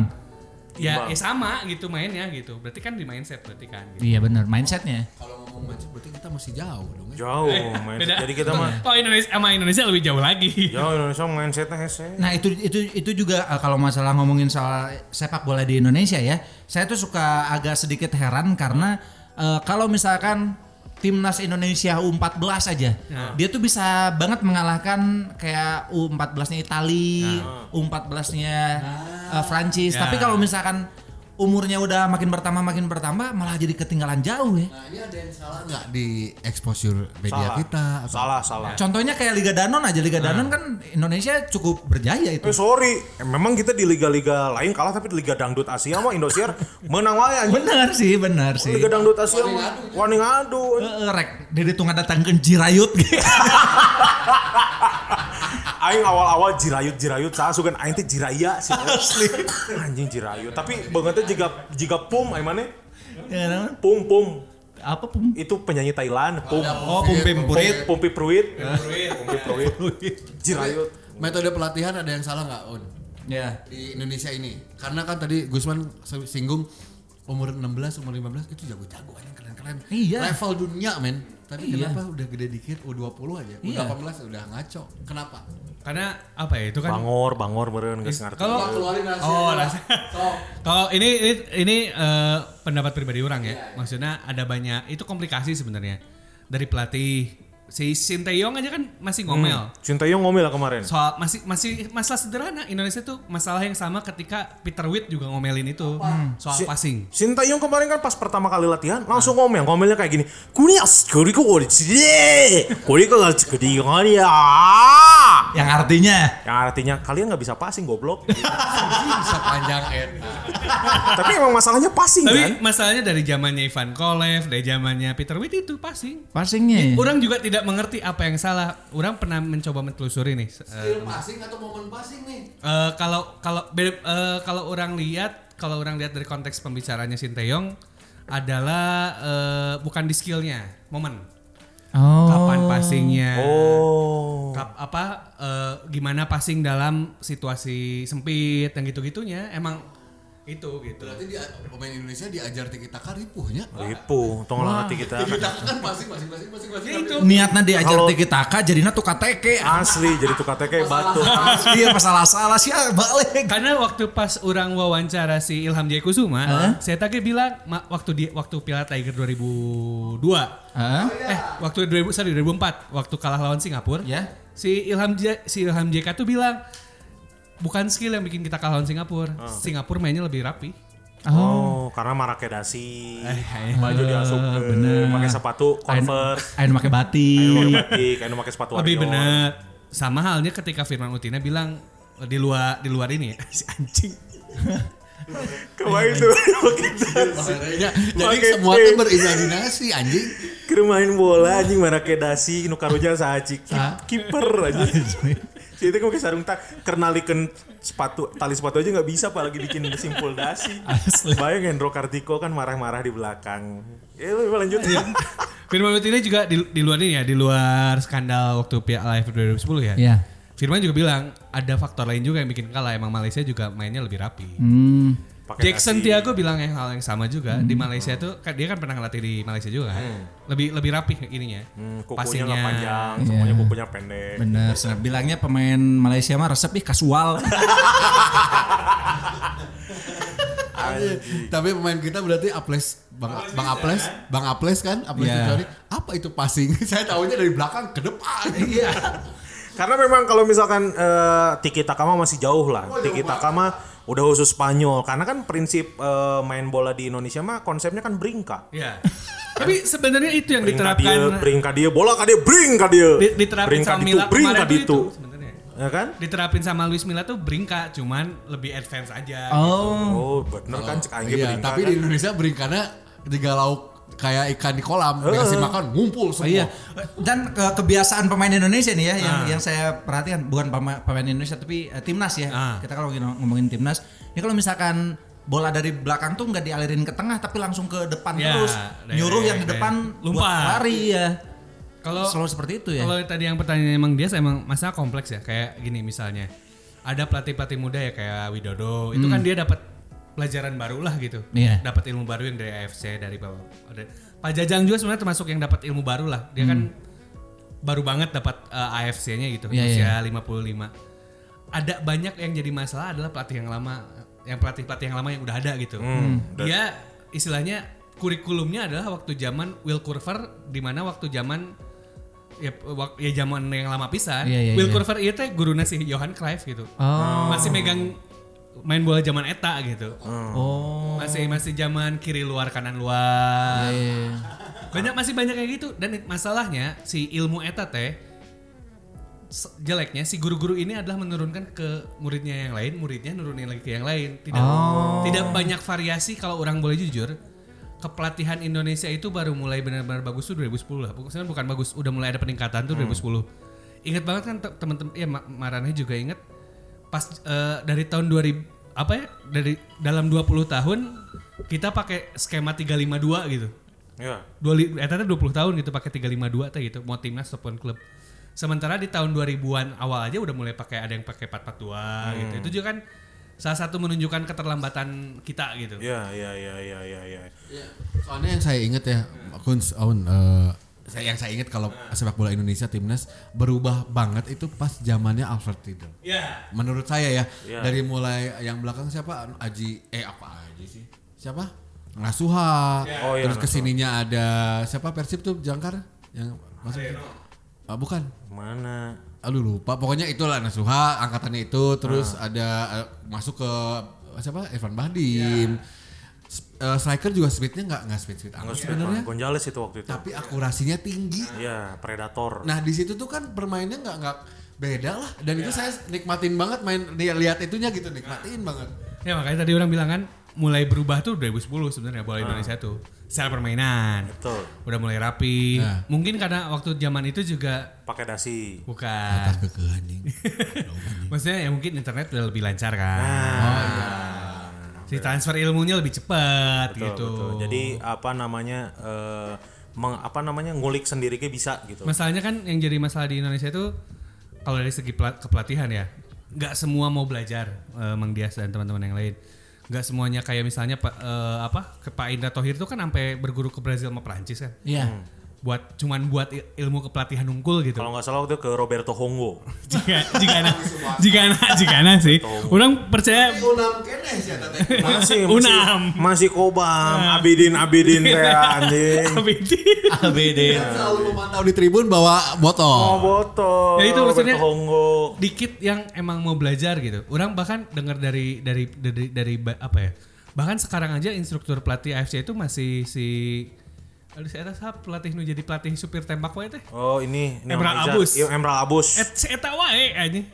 S2: Ya, ya sama gitu mainnya gitu. Berarti kan di mindset berarti kan gitu.
S1: Iya benar, mindsetnya.
S4: kalau ngomong macet berarti kita masih jauh dong ya.
S3: Jauh, main. Jadi kita mah
S2: Kalau Indonesia sama Indonesia lebih jauh lagi.
S3: jauh Indonesia mindsetnya hese.
S1: Nah itu itu itu juga eh, kalau masalah ngomongin soal sepak bola di Indonesia ya, saya tuh suka agak sedikit heran karena eh, kalau misalkan timnas Indonesia U14 aja, dia tuh bisa banget mengalahkan kayak Ya. U14-nya Itali, U14-nya eh, Prancis. Tapi kalau misalkan umurnya udah makin bertambah makin bertambah malah jadi ketinggalan jauh ya.
S4: Nah, ini ada yang salah nggak di exposure media
S3: Salah.
S4: Iya, kita? Apa?
S3: Salah, salah.
S1: Contohnya kayak Liga Danon aja Liga Danon kan Indonesia cukup berjaya itu.
S3: Eh sorry, Eh, memang kita di liga-liga lain kalah tapi di Liga Dangdut Asia mah Indosiar menang wae anjing.
S1: Benar sih, benar sih.
S3: Liga Dangdut Asia mah wani
S1: Eh,
S3: ngadu.
S1: eh, Rek, dari tunggah datang ke Jirayut.
S3: Aing awal-awal jirayut-jirayut saya sugan aing teh jiraya sih. Asli. Anjing jirayut. Tapi bangetnya jika jika pum aing mana?
S1: Ya, kan?
S3: Pum pum.
S1: Apa pun.
S3: Itu penyanyi Thailand, pum.
S1: Oh, Pumpim Purit.
S3: Pum- Pumpi Pruit. Pumpi Pruit. Jirayut.
S4: Metode pelatihan ada yang salah nggak, Un?
S1: Ya.
S4: Di Indonesia ini. Karena kan tadi Gusman singgung umur 16, umur 15 itu jago-jago aja keren-keren.
S1: Iya.
S4: Level dunia, men. Tapi
S1: Iya.
S4: kenapa udah gede dikit U20 aja,
S1: Iya.
S4: U18 udah ngaco. Kenapa?
S2: Karena apa ya itu kan
S3: Bangor, bangor meureun geus ngarti.
S2: Kalau-
S4: Wah, keluarin rahasia.
S2: Oh,
S4: Wah.
S2: rahasia.
S4: Sok.
S2: Kalau ini ini, ini, eh, pendapat pribadi orang ya. Maksudnya ada banyak itu komplikasi sebenarnya dari pelatih si Sinteyong aja kan masih
S3: Hmm.
S2: ngomel.
S3: Sintayong ngomel lah kemarin.
S2: Soal masih masih masalah sederhana Indonesia tuh masalah yang sama ketika Peter Witt juga ngomelin itu Hmm, soal
S3: Si-
S2: passing.
S3: Sintayong kemarin kan pas pertama kali latihan langsung ngomel, ngomelnya kayak gini. Kunias, kuriku orici, kuriku lagi ya.
S1: Yang artinya
S3: Yang artinya kalian nggak bisa passing goblok.
S4: Bisa panjang eh. enak.
S3: Tapi emang masalahnya passing
S2: Tapi
S3: kan?
S2: masalahnya dari zamannya Ivan Kolev, dari zamannya Peter Witt itu passing.
S1: passingnya.
S2: Orang juga tidak mengerti apa yang salah. Orang pernah mencoba mentelusuri nih. eh,
S4: Skill passing atau momen passing nih?
S2: Eh, kalau kalau be- eh, kalau orang lihat kalau orang lihat dari konteks pembicaranya Sinteyong adalah eh, bukan di skillnya momen
S1: Oh.
S2: kapan passingnya
S3: Oh.
S2: kap- apa eh, gimana passing dalam situasi sempit yang gitu gitunya emang itu gitu
S4: Berarti dia, pemain Indonesia diajar tiki taka ripuhnya.
S3: Ripu, tolong nanti kita
S4: Tiki taka kan passing, passing, passing, passing, passing.
S2: Ya itu
S1: Niatnya diajar
S3: Kalau-
S1: tiki taka jadinya tuh KTK.
S3: asli jadi tukar kayak batu.
S1: Iya masalah-salah sih ah, balik.
S2: karena waktu pas orang wawancara si Ilham Jaya Kusuma, saya tadi bilang ma- waktu di waktu Piala Tiger 2002
S1: Hah?
S2: Eh, waktu 2000 sorry 2004 waktu kalah lawan Singapura.
S1: Ya.
S2: Si Ilham J- si Ilham JK tuh bilang bukan skill yang bikin kita kalah lawan Singapura. Singapura mainnya lebih rapi.
S3: Oh, karena marakedasi, baju diasup,
S1: bener.
S3: pakai sepatu
S1: Ayo
S3: Converse,
S1: ayo make batik.
S3: ayo batik, ayo pakai sepatu
S2: lebih
S3: Warrior.
S2: benar. Sama halnya ketika Firman Utina bilang eh, di luar di luar ini ya si anjing.
S3: Kemarin tuh kita
S4: Makanya, jadi
S3: Pakai
S4: semua
S3: T.
S4: tuh berimajinasi anjing.
S3: Keur main bola anjing marakedasi nu karunya saha cik
S2: Ah.
S3: kiper anjing. Si itu pakai sarung tak kernalikeun sepatu tali sepatu aja nggak bisa apalagi bikin simpul dasi. Bayang Hendro Kartiko kan marah-marah di belakang. Ya lu lanjut.
S2: Iya. Firman Utina juga di, di luar ini ya, di luar skandal waktu Piala AFF 2010 ya.
S1: Iya.
S2: Firman juga bilang ada faktor lain juga yang bikin kalah. Emang Malaysia juga mainnya lebih rapi.
S1: Hmm.
S3: Pakai
S2: Jackson
S3: dasi.
S2: Tiago bilang yang hal yang sama juga di Malaysia tuh kan dia kan pernah ngelatih di Malaysia juga kan. Lebih lebih rapih ininya.
S3: Hmm, kukunya
S2: Passingnya Iya.
S3: nggak panjang, semuanya kukunya pendek.
S1: Bener. Nah, bilangnya pemain Malaysia mah resep ih kasual.
S4: Tapi pemain kita berarti Aples, Bang Bang Aples, Bang Aples kan, Aples
S1: Iya.
S4: Victory. Apa itu passing? Saya tahunya dari belakang ke depan. Iya.
S3: Karena memang kalau misalkan eh, Tiki Taka mah masih jauh lah. Tiki Taka mah udah khusus Spanyol. Karena kan prinsip eh, main bola di Indonesia mah konsepnya kan bringka.
S2: Iya. Tapi sebenarnya itu yang
S3: Bring ka
S2: diterapkan
S3: dia, bring ka dia, bola ka dia, bring ka dia.
S2: di- diterapin
S3: Bring ka
S2: sama
S3: ditu,
S2: Mila
S3: bring ka
S2: kemarin tuh
S3: ditu.
S2: itu sebenarnya.
S3: Ya kan?
S2: Diterapin sama Luis Milla tuh bringka cuman lebih advance aja.
S1: Oh.
S2: Hmm.
S3: Oh, bener kan cek aja
S4: Iya,
S3: bringka.
S4: tapi
S3: kan?
S4: di Indonesia beringkana tiga lauk kayak ikan di kolam, dikasih makan
S1: Oh
S4: ngumpul semua.
S1: iya. Dan ke- kebiasaan pemain Indonesia nih ya yang
S2: Ah.
S1: yang saya perhatikan bukan pema- pemain Indonesia tapi eh, timnas ya.
S2: Ah.
S1: Kita kalau ngomongin, ngomongin timnas, ya kalau misalkan bola dari belakang tuh nggak dialirin ke tengah tapi langsung ke depan
S2: Ya,
S1: terus
S2: direct,
S1: nyuruh yang ke
S2: direct.
S1: depan
S2: Lompat.
S1: buat lari ya.
S2: Kalau
S1: Selalu seperti itu ya.
S2: Kalau tadi yang pertanyaan emang dia emang masalah kompleks ya kayak gini misalnya ada pelatih pelatih muda ya kayak Widodo itu kan dia dapat pelajaran baru lah gitu,
S1: Hmm. Iya.
S2: dapat ilmu baru yang dari AFC dari bawah. Ada- Pak Jajang juga sebenarnya termasuk yang dapat ilmu baru lah, dia kan
S1: Hmm.
S2: baru banget dapat AFC-nya gitu
S1: Iya,
S2: usia 55. Ada banyak yang jadi masalah adalah pelatih yang lama, yang pelatih pelatih yang lama yang udah ada gitu.
S1: Hmm.
S2: Dia istilahnya kurikulumnya adalah waktu zaman Will Curver di mana waktu zaman ya wak- ya zaman yang lama pisan
S1: Iya, iya, iya.
S2: Will Curver iya teh guruna si Johan Cruyff gitu
S1: Oh.
S2: masih megang main bola zaman eta gitu.
S1: Oh.
S2: Masih masih zaman kiri luar kanan luar.
S1: Iya.
S2: Banyak masih banyak kayak gitu dan it- masalahnya si ilmu eta teh se- jeleknya si guru-guru ini adalah menurunkan ke muridnya yang lain, muridnya nurunin lagi ke yang lain. Tidak tidak banyak variasi kalau orang boleh jujur. Kepelatihan Indonesia itu baru mulai benar-benar bagus tuh 2010 lah. Maksudnya bukan bagus, udah mulai ada peningkatan tuh 2010. Ingat banget kan te- teman-teman ya Ma- Marane juga ingat pas eh, dari tahun 2000 apa ya? Dari dalam 20 tahun kita pakai skema 352 gitu
S3: Ya.
S2: dua li- eh ternyata 20 tahun gitu pakai 352 teh gitu mau timnas ataupun klub sementara di tahun 2000-an awal aja udah mulai pakai ada yang pakai 442
S3: Hmm.
S2: gitu itu juga kan salah satu menunjukkan keterlambatan kita gitu
S3: Ya, ya, ya, ya, ya, ya.
S4: Iya. Soalnya yang saya ingat ya, Kunz, Aun, eh, saya yang saya ingat kalau sepak bola Indonesia timnas berubah banget itu pas zamannya Alfred Riedel.
S2: ya
S4: Menurut saya ya,
S3: Iya.
S4: dari mulai yang belakang siapa Aji eh apa Aji sih? Siapa? Ngasuha.
S3: Oh, iya,
S4: Terus kesininya ada siapa Persib tuh jangkar yang masuk. Ah, bukan.
S3: Mana?
S4: Aduh lupa. Pokoknya itulah Nasuha angkatannya itu terus ada eh, masuk ke siapa? Evan Bahdim. S- eh, striker juga speednya nggak Ya. nggak speed speed
S2: Iya.
S3: Enggak
S4: amat Ah.
S3: sebenarnya.
S4: sebenarnya,
S3: Gonzales itu waktu itu.
S4: tapi akurasinya tinggi.
S3: Ya, Predator.
S4: Nah di situ tuh kan permainnya nggak nggak beda lah. Dan itu saya nikmatin banget main li- lihat itunya gitu nikmatin banget.
S2: ya makanya tadi orang bilang kan mulai berubah tuh 2010 sebenarnya
S3: Ah.
S2: bola Indonesia tuh secara permainan
S3: Betul.
S2: udah mulai rapi
S4: Nah.
S2: mungkin karena waktu zaman itu juga
S3: Pakai dasi.
S2: bukan
S4: Kekeh anjing.
S2: maksudnya ya mungkin internet udah lebih lancar kan
S3: Nah.
S2: si transfer ilmunya lebih cepat
S3: Betul,
S2: gitu
S3: betul. Jadi apa namanya eh meng- apa namanya ngulik sendiri ke bisa gitu.
S2: Masalahnya kan yang jadi masalah di Indonesia itu kalau dari segi pela- kepelatihan ya, nggak semua mau belajar eh, Mang Dias dan teman-teman yang lain. Nggak semuanya kayak misalnya Pak eh, apa ke Pak Indra Tohir itu kan sampai berguru ke Brazil sama Prancis kan.
S1: Iya.
S2: Buat cuman buat il- ilmu kepelatihan unggul gitu.
S3: Kalau nggak salah waktu itu ke Roberto Hongo.
S2: jika jika anak jika anak jika anak sih. Orang percaya
S4: Unam kene sih tadi.
S3: Masih,
S2: Unam. Nah.
S3: masih, masih kobam, abidin abidin kayak anjing.
S2: Abidin.
S1: ABD.
S4: Selalu memantau di tribun bawa botol.
S3: Oh, botol.
S2: Ya itu maksudnya-
S3: Roberto Hongo.
S2: dikit yang emang mau belajar gitu. Orang bahkan dengar dari dari dari dari ba- apa ya? Bahkan sekarang aja instruktur pelatih AFC itu masih si aduh saya rasa pelatih nu jadi pelatih supir tembak wae teh.
S3: Oh, ini, ini
S2: Emerald
S3: Mang Iza.
S2: Abus.
S3: Iya, Emerald Abus.
S2: Et si eta wae anjing.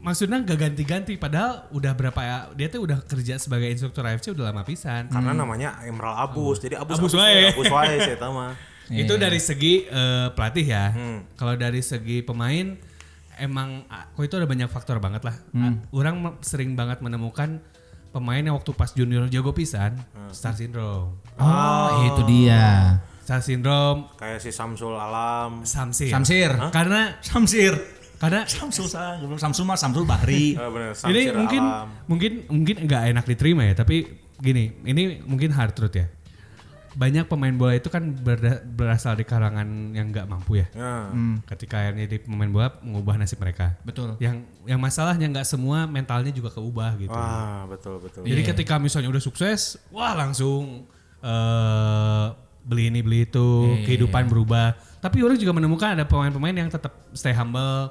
S2: Maksudnya gak ganti-ganti padahal udah berapa ya dia tuh udah kerja sebagai instruktur AFC udah lama pisan.
S3: Karena namanya Emerald Abus. Jadi Abus
S2: Hmm. Abus wae.
S3: Abus wae sih eta mah.
S2: Itu dari segi eh, pelatih ya.
S3: Hmm.
S2: Kalau dari segi pemain emang aku itu ada banyak faktor banget lah. A- Orang me- sering banget menemukan pemain yang waktu pas junior jago pisan,
S3: Hmm.
S2: star syndrome.
S1: Oh, itu dia.
S2: Star syndrome
S3: Kayak si Samsul Alam.
S2: Samsir.
S1: Samsir.
S2: Karena
S1: Samsir.
S2: karena
S1: Samsul sa- Samsul mah Samsul Bahri.
S3: Eh, bener, Samsir
S2: ini mungkin
S3: Alam.
S2: mungkin mungkin nggak enak diterima ya, tapi gini, ini mungkin hard truth ya. Banyak pemain bola itu kan berda- berasal di kalangan yang nggak mampu ya.
S3: Ya.
S2: Ketika akhirnya jadi pemain bola mengubah nasib mereka.
S1: Betul.
S2: yang yang masalahnya nggak semua mentalnya juga keubah gitu.
S3: Wah, betul betul.
S2: Jadi ketika misalnya udah sukses, wah langsung eh beli ini beli itu, kehidupan berubah. Tapi orang juga menemukan ada pemain-pemain yang tetap stay humble,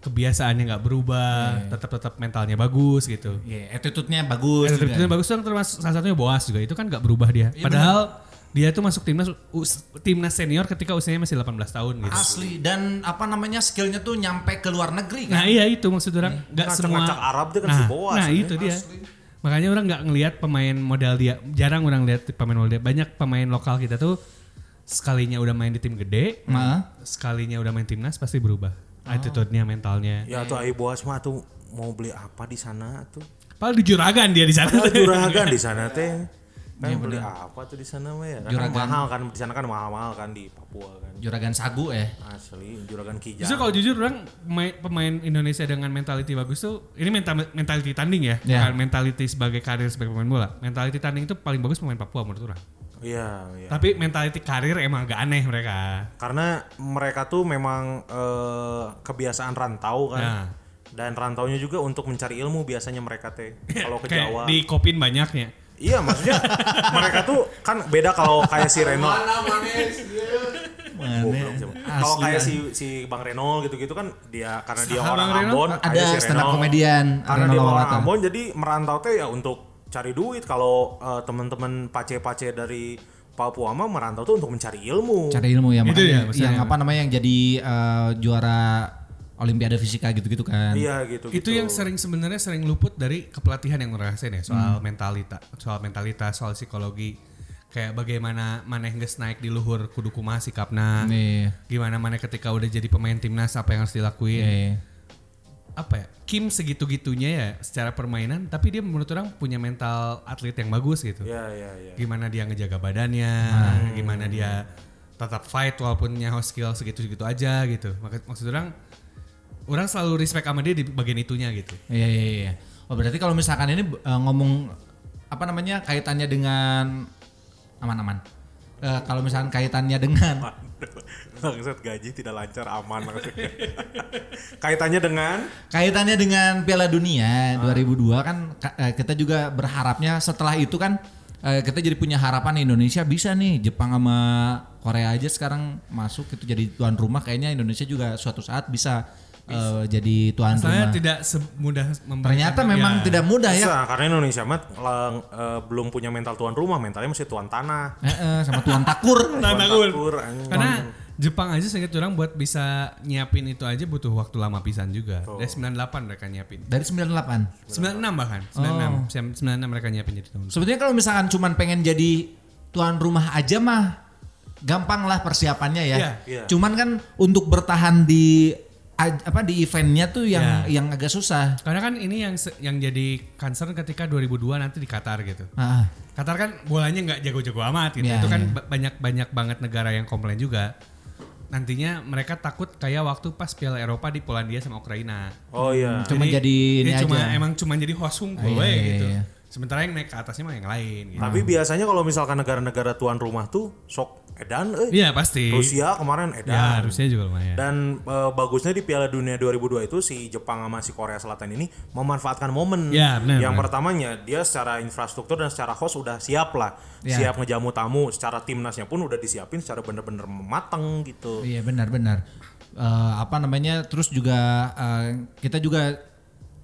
S2: kebiasaannya nggak berubah, tetap tetap mentalnya bagus gitu.
S1: Iya, attitude-nya bagus. Iya. juga.
S2: Attitude-nya bagus tuh termasuk salah satunya Boas juga itu kan nggak berubah dia. Padahal dia tuh masuk timnas us- timnas senior ketika usianya masih 18 tahun gitu.
S1: Asli dan apa namanya skillnya tuh nyampe ke luar negeri kan.
S2: Nah iya itu maksud orang nggak semua
S3: Ngacak-ngacak Arab tuh kan si
S2: nah,
S3: Boas.
S2: Nah
S3: ini.
S2: itu dia. Makanya orang nggak ngelihat pemain modal dia. Jarang orang lihat pemain modal dia. Banyak pemain lokal kita tuh sekalinya udah main di tim gede,
S1: Heeh.
S2: sekalinya udah main timnas pasti berubah.
S3: Ah.
S2: Attitude-nya, mentalnya.
S3: Ya tuh Ayu Boas mah tuh mau beli apa di sana tuh?
S2: Padahal di juragan dia di sana.
S3: Ada juragan di sana teh.
S2: Iya,
S3: Kan beli apa tuh di sana mah ya? Kan
S1: Juragan.
S3: mahal kan di sana kan mahal-mahal kan di Papua kan.
S1: Juragan Sagu ya.
S3: Asli juragan Kijang.
S2: Justru kalau jujur orang pemain, pemain Indonesia dengan mentality bagus tuh ini mental mentality tanding ya,
S1: Ya.
S2: bukan mentality sebagai karir sebagai pemain bola. Mentality tanding itu paling bagus pemain Papua menurut orang.
S3: Iya, iya.
S2: Tapi mentality karir emang agak aneh mereka.
S3: Karena mereka tuh memang eh, kebiasaan rantau
S2: Nah.
S3: kan. Dan rantaunya juga untuk mencari ilmu biasanya mereka teh kalau ke
S2: Kayak
S3: Jawa.
S2: dikopin banyaknya.
S3: Iya maksudnya mereka tuh kan beda kalau kayak si Reno.
S4: Mana manis dia.
S3: Goblok sih,
S1: Mana?
S3: Bang. Kalau
S1: asli.
S3: kayak si si Bang Renol gitu-gitu kan dia karena dia
S2: Saha
S3: orang
S2: kan. Bang Renol?
S3: Ambon,
S1: Ada
S3: kayak
S1: stand up
S3: Renol.
S1: comedian,
S3: Karena
S1: Renol
S3: dia orang
S1: Lawatan.
S3: Ambon jadi merantau teh ya untuk cari duit. Kalau eh, teman-teman pace-pace dari Papua mah merantau tuh untuk mencari ilmu.
S1: Cari ilmu ya,
S2: Gitu
S1: makanya
S2: ya, maksudnya.
S1: yang apa namanya yang jadi eh, juara Olimpiade Fisika gitu-gitu kan.
S3: Iya gitu.
S2: Itu yang sering sebenarnya sering luput dari kepelatihan yang ngerasain ya soal mentalitas, soal mentalitas, soal psikologi. Kayak bagaimana maneh geus naik di luhur kudu kumaha sikapna.
S1: Nih.
S2: Gimana maneh ketika udah jadi pemain timnas apa yang harus dilakuin.
S1: Iya.
S2: Apa ya? Kim segitu-gitunya ya secara permainan tapi dia menurut orang punya mental atlet yang bagus gitu.
S3: Iya iya iya.
S2: Gimana dia ngejaga badannya, gimana dia tetap fight walaupun nyaho skill segitu-segitu aja gitu. Maka- Maksud orang orang selalu respect sama dia di bagian itunya gitu.
S1: Iya iya iya. Oh berarti kalau misalkan ini eh, ngomong apa namanya kaitannya dengan aman-aman. Eh, kalau misalkan kaitannya dengan
S3: Bangsat gaji tidak lancar aman maksudnya. Kaitannya dengan
S1: kaitannya dengan Piala Dunia 2002 kan ka- eh, kita juga berharapnya setelah itu kan eh, kita jadi punya harapan Indonesia bisa nih Jepang sama Korea aja sekarang masuk itu jadi tuan rumah kayaknya Indonesia juga suatu saat bisa eh, jadi tuan rumah.
S2: Soalnya tidak semudah membayangkan.
S1: Ternyata memang
S2: Ya.
S1: tidak mudah ya.
S3: Susah, Nah, karena Indonesia mah lang- eh, belum punya mental tuan rumah, mentalnya masih tuan tanah.
S1: Eh, eh, sama tuan takur.
S2: Nah,
S3: Tuan
S2: bangun.
S3: takur, anjing.
S2: Karena Jepang aja seingat orang buat bisa nyiapin itu aja butuh waktu lama pisan juga. Eh, Dari 98 mereka nyiapin.
S1: Dari 98.
S2: 96 bahkan.
S1: Oh.
S2: 96. Sem- 96 mereka nyiapin jadi tahun.
S1: Sebetulnya kalau misalkan cuman pengen jadi tuan rumah aja mah gampang lah persiapannya ya.
S2: Iya,
S3: iya.
S1: Cuman kan untuk bertahan di aj- apa di eventnya tuh yang
S2: Iya.
S1: yang agak susah.
S2: Karena kan ini yang se- yang jadi concern ketika 2002 nanti di Qatar gitu.
S1: Ah,
S2: Qatar kan bolanya nggak jago-jago amat gitu.
S1: Iya,
S2: itu kan
S1: iya.
S2: ba- banyak-banyak banget negara yang komplain juga. Nantinya mereka takut kayak waktu pas Piala Eropa di Polandia sama Ukraina.
S3: Oh iya.
S1: Cuma jadi ini
S2: dia cuma
S1: aja.
S2: emang cuma jadi host
S1: Ah,
S2: unggul
S1: iya,
S2: we,
S1: iya,
S2: gitu.
S1: iya.
S2: Sementara yang naik ke atasnya mah yang lain gitu.
S3: Tapi biasanya kalau misalkan negara-negara tuan rumah tuh sok edan euy.
S2: Iya pasti.
S3: Rusia kemarin
S2: Ya
S3: edan.
S2: Rusia juga lumayan.
S3: Dan eh, bagusnya di Piala Dunia 2002 itu si Jepang sama si Korea Selatan ini memanfaatkan momen.
S2: Ya, benar,
S3: yang
S2: benar.
S3: pertamanya dia secara infrastruktur dan secara host udah siap lah, siap ngejamu tamu. Secara timnasnya pun udah disiapin secara bener-bener mateng gitu.
S1: Iya benar-benar. Eh, apa namanya? Terus juga eh, kita juga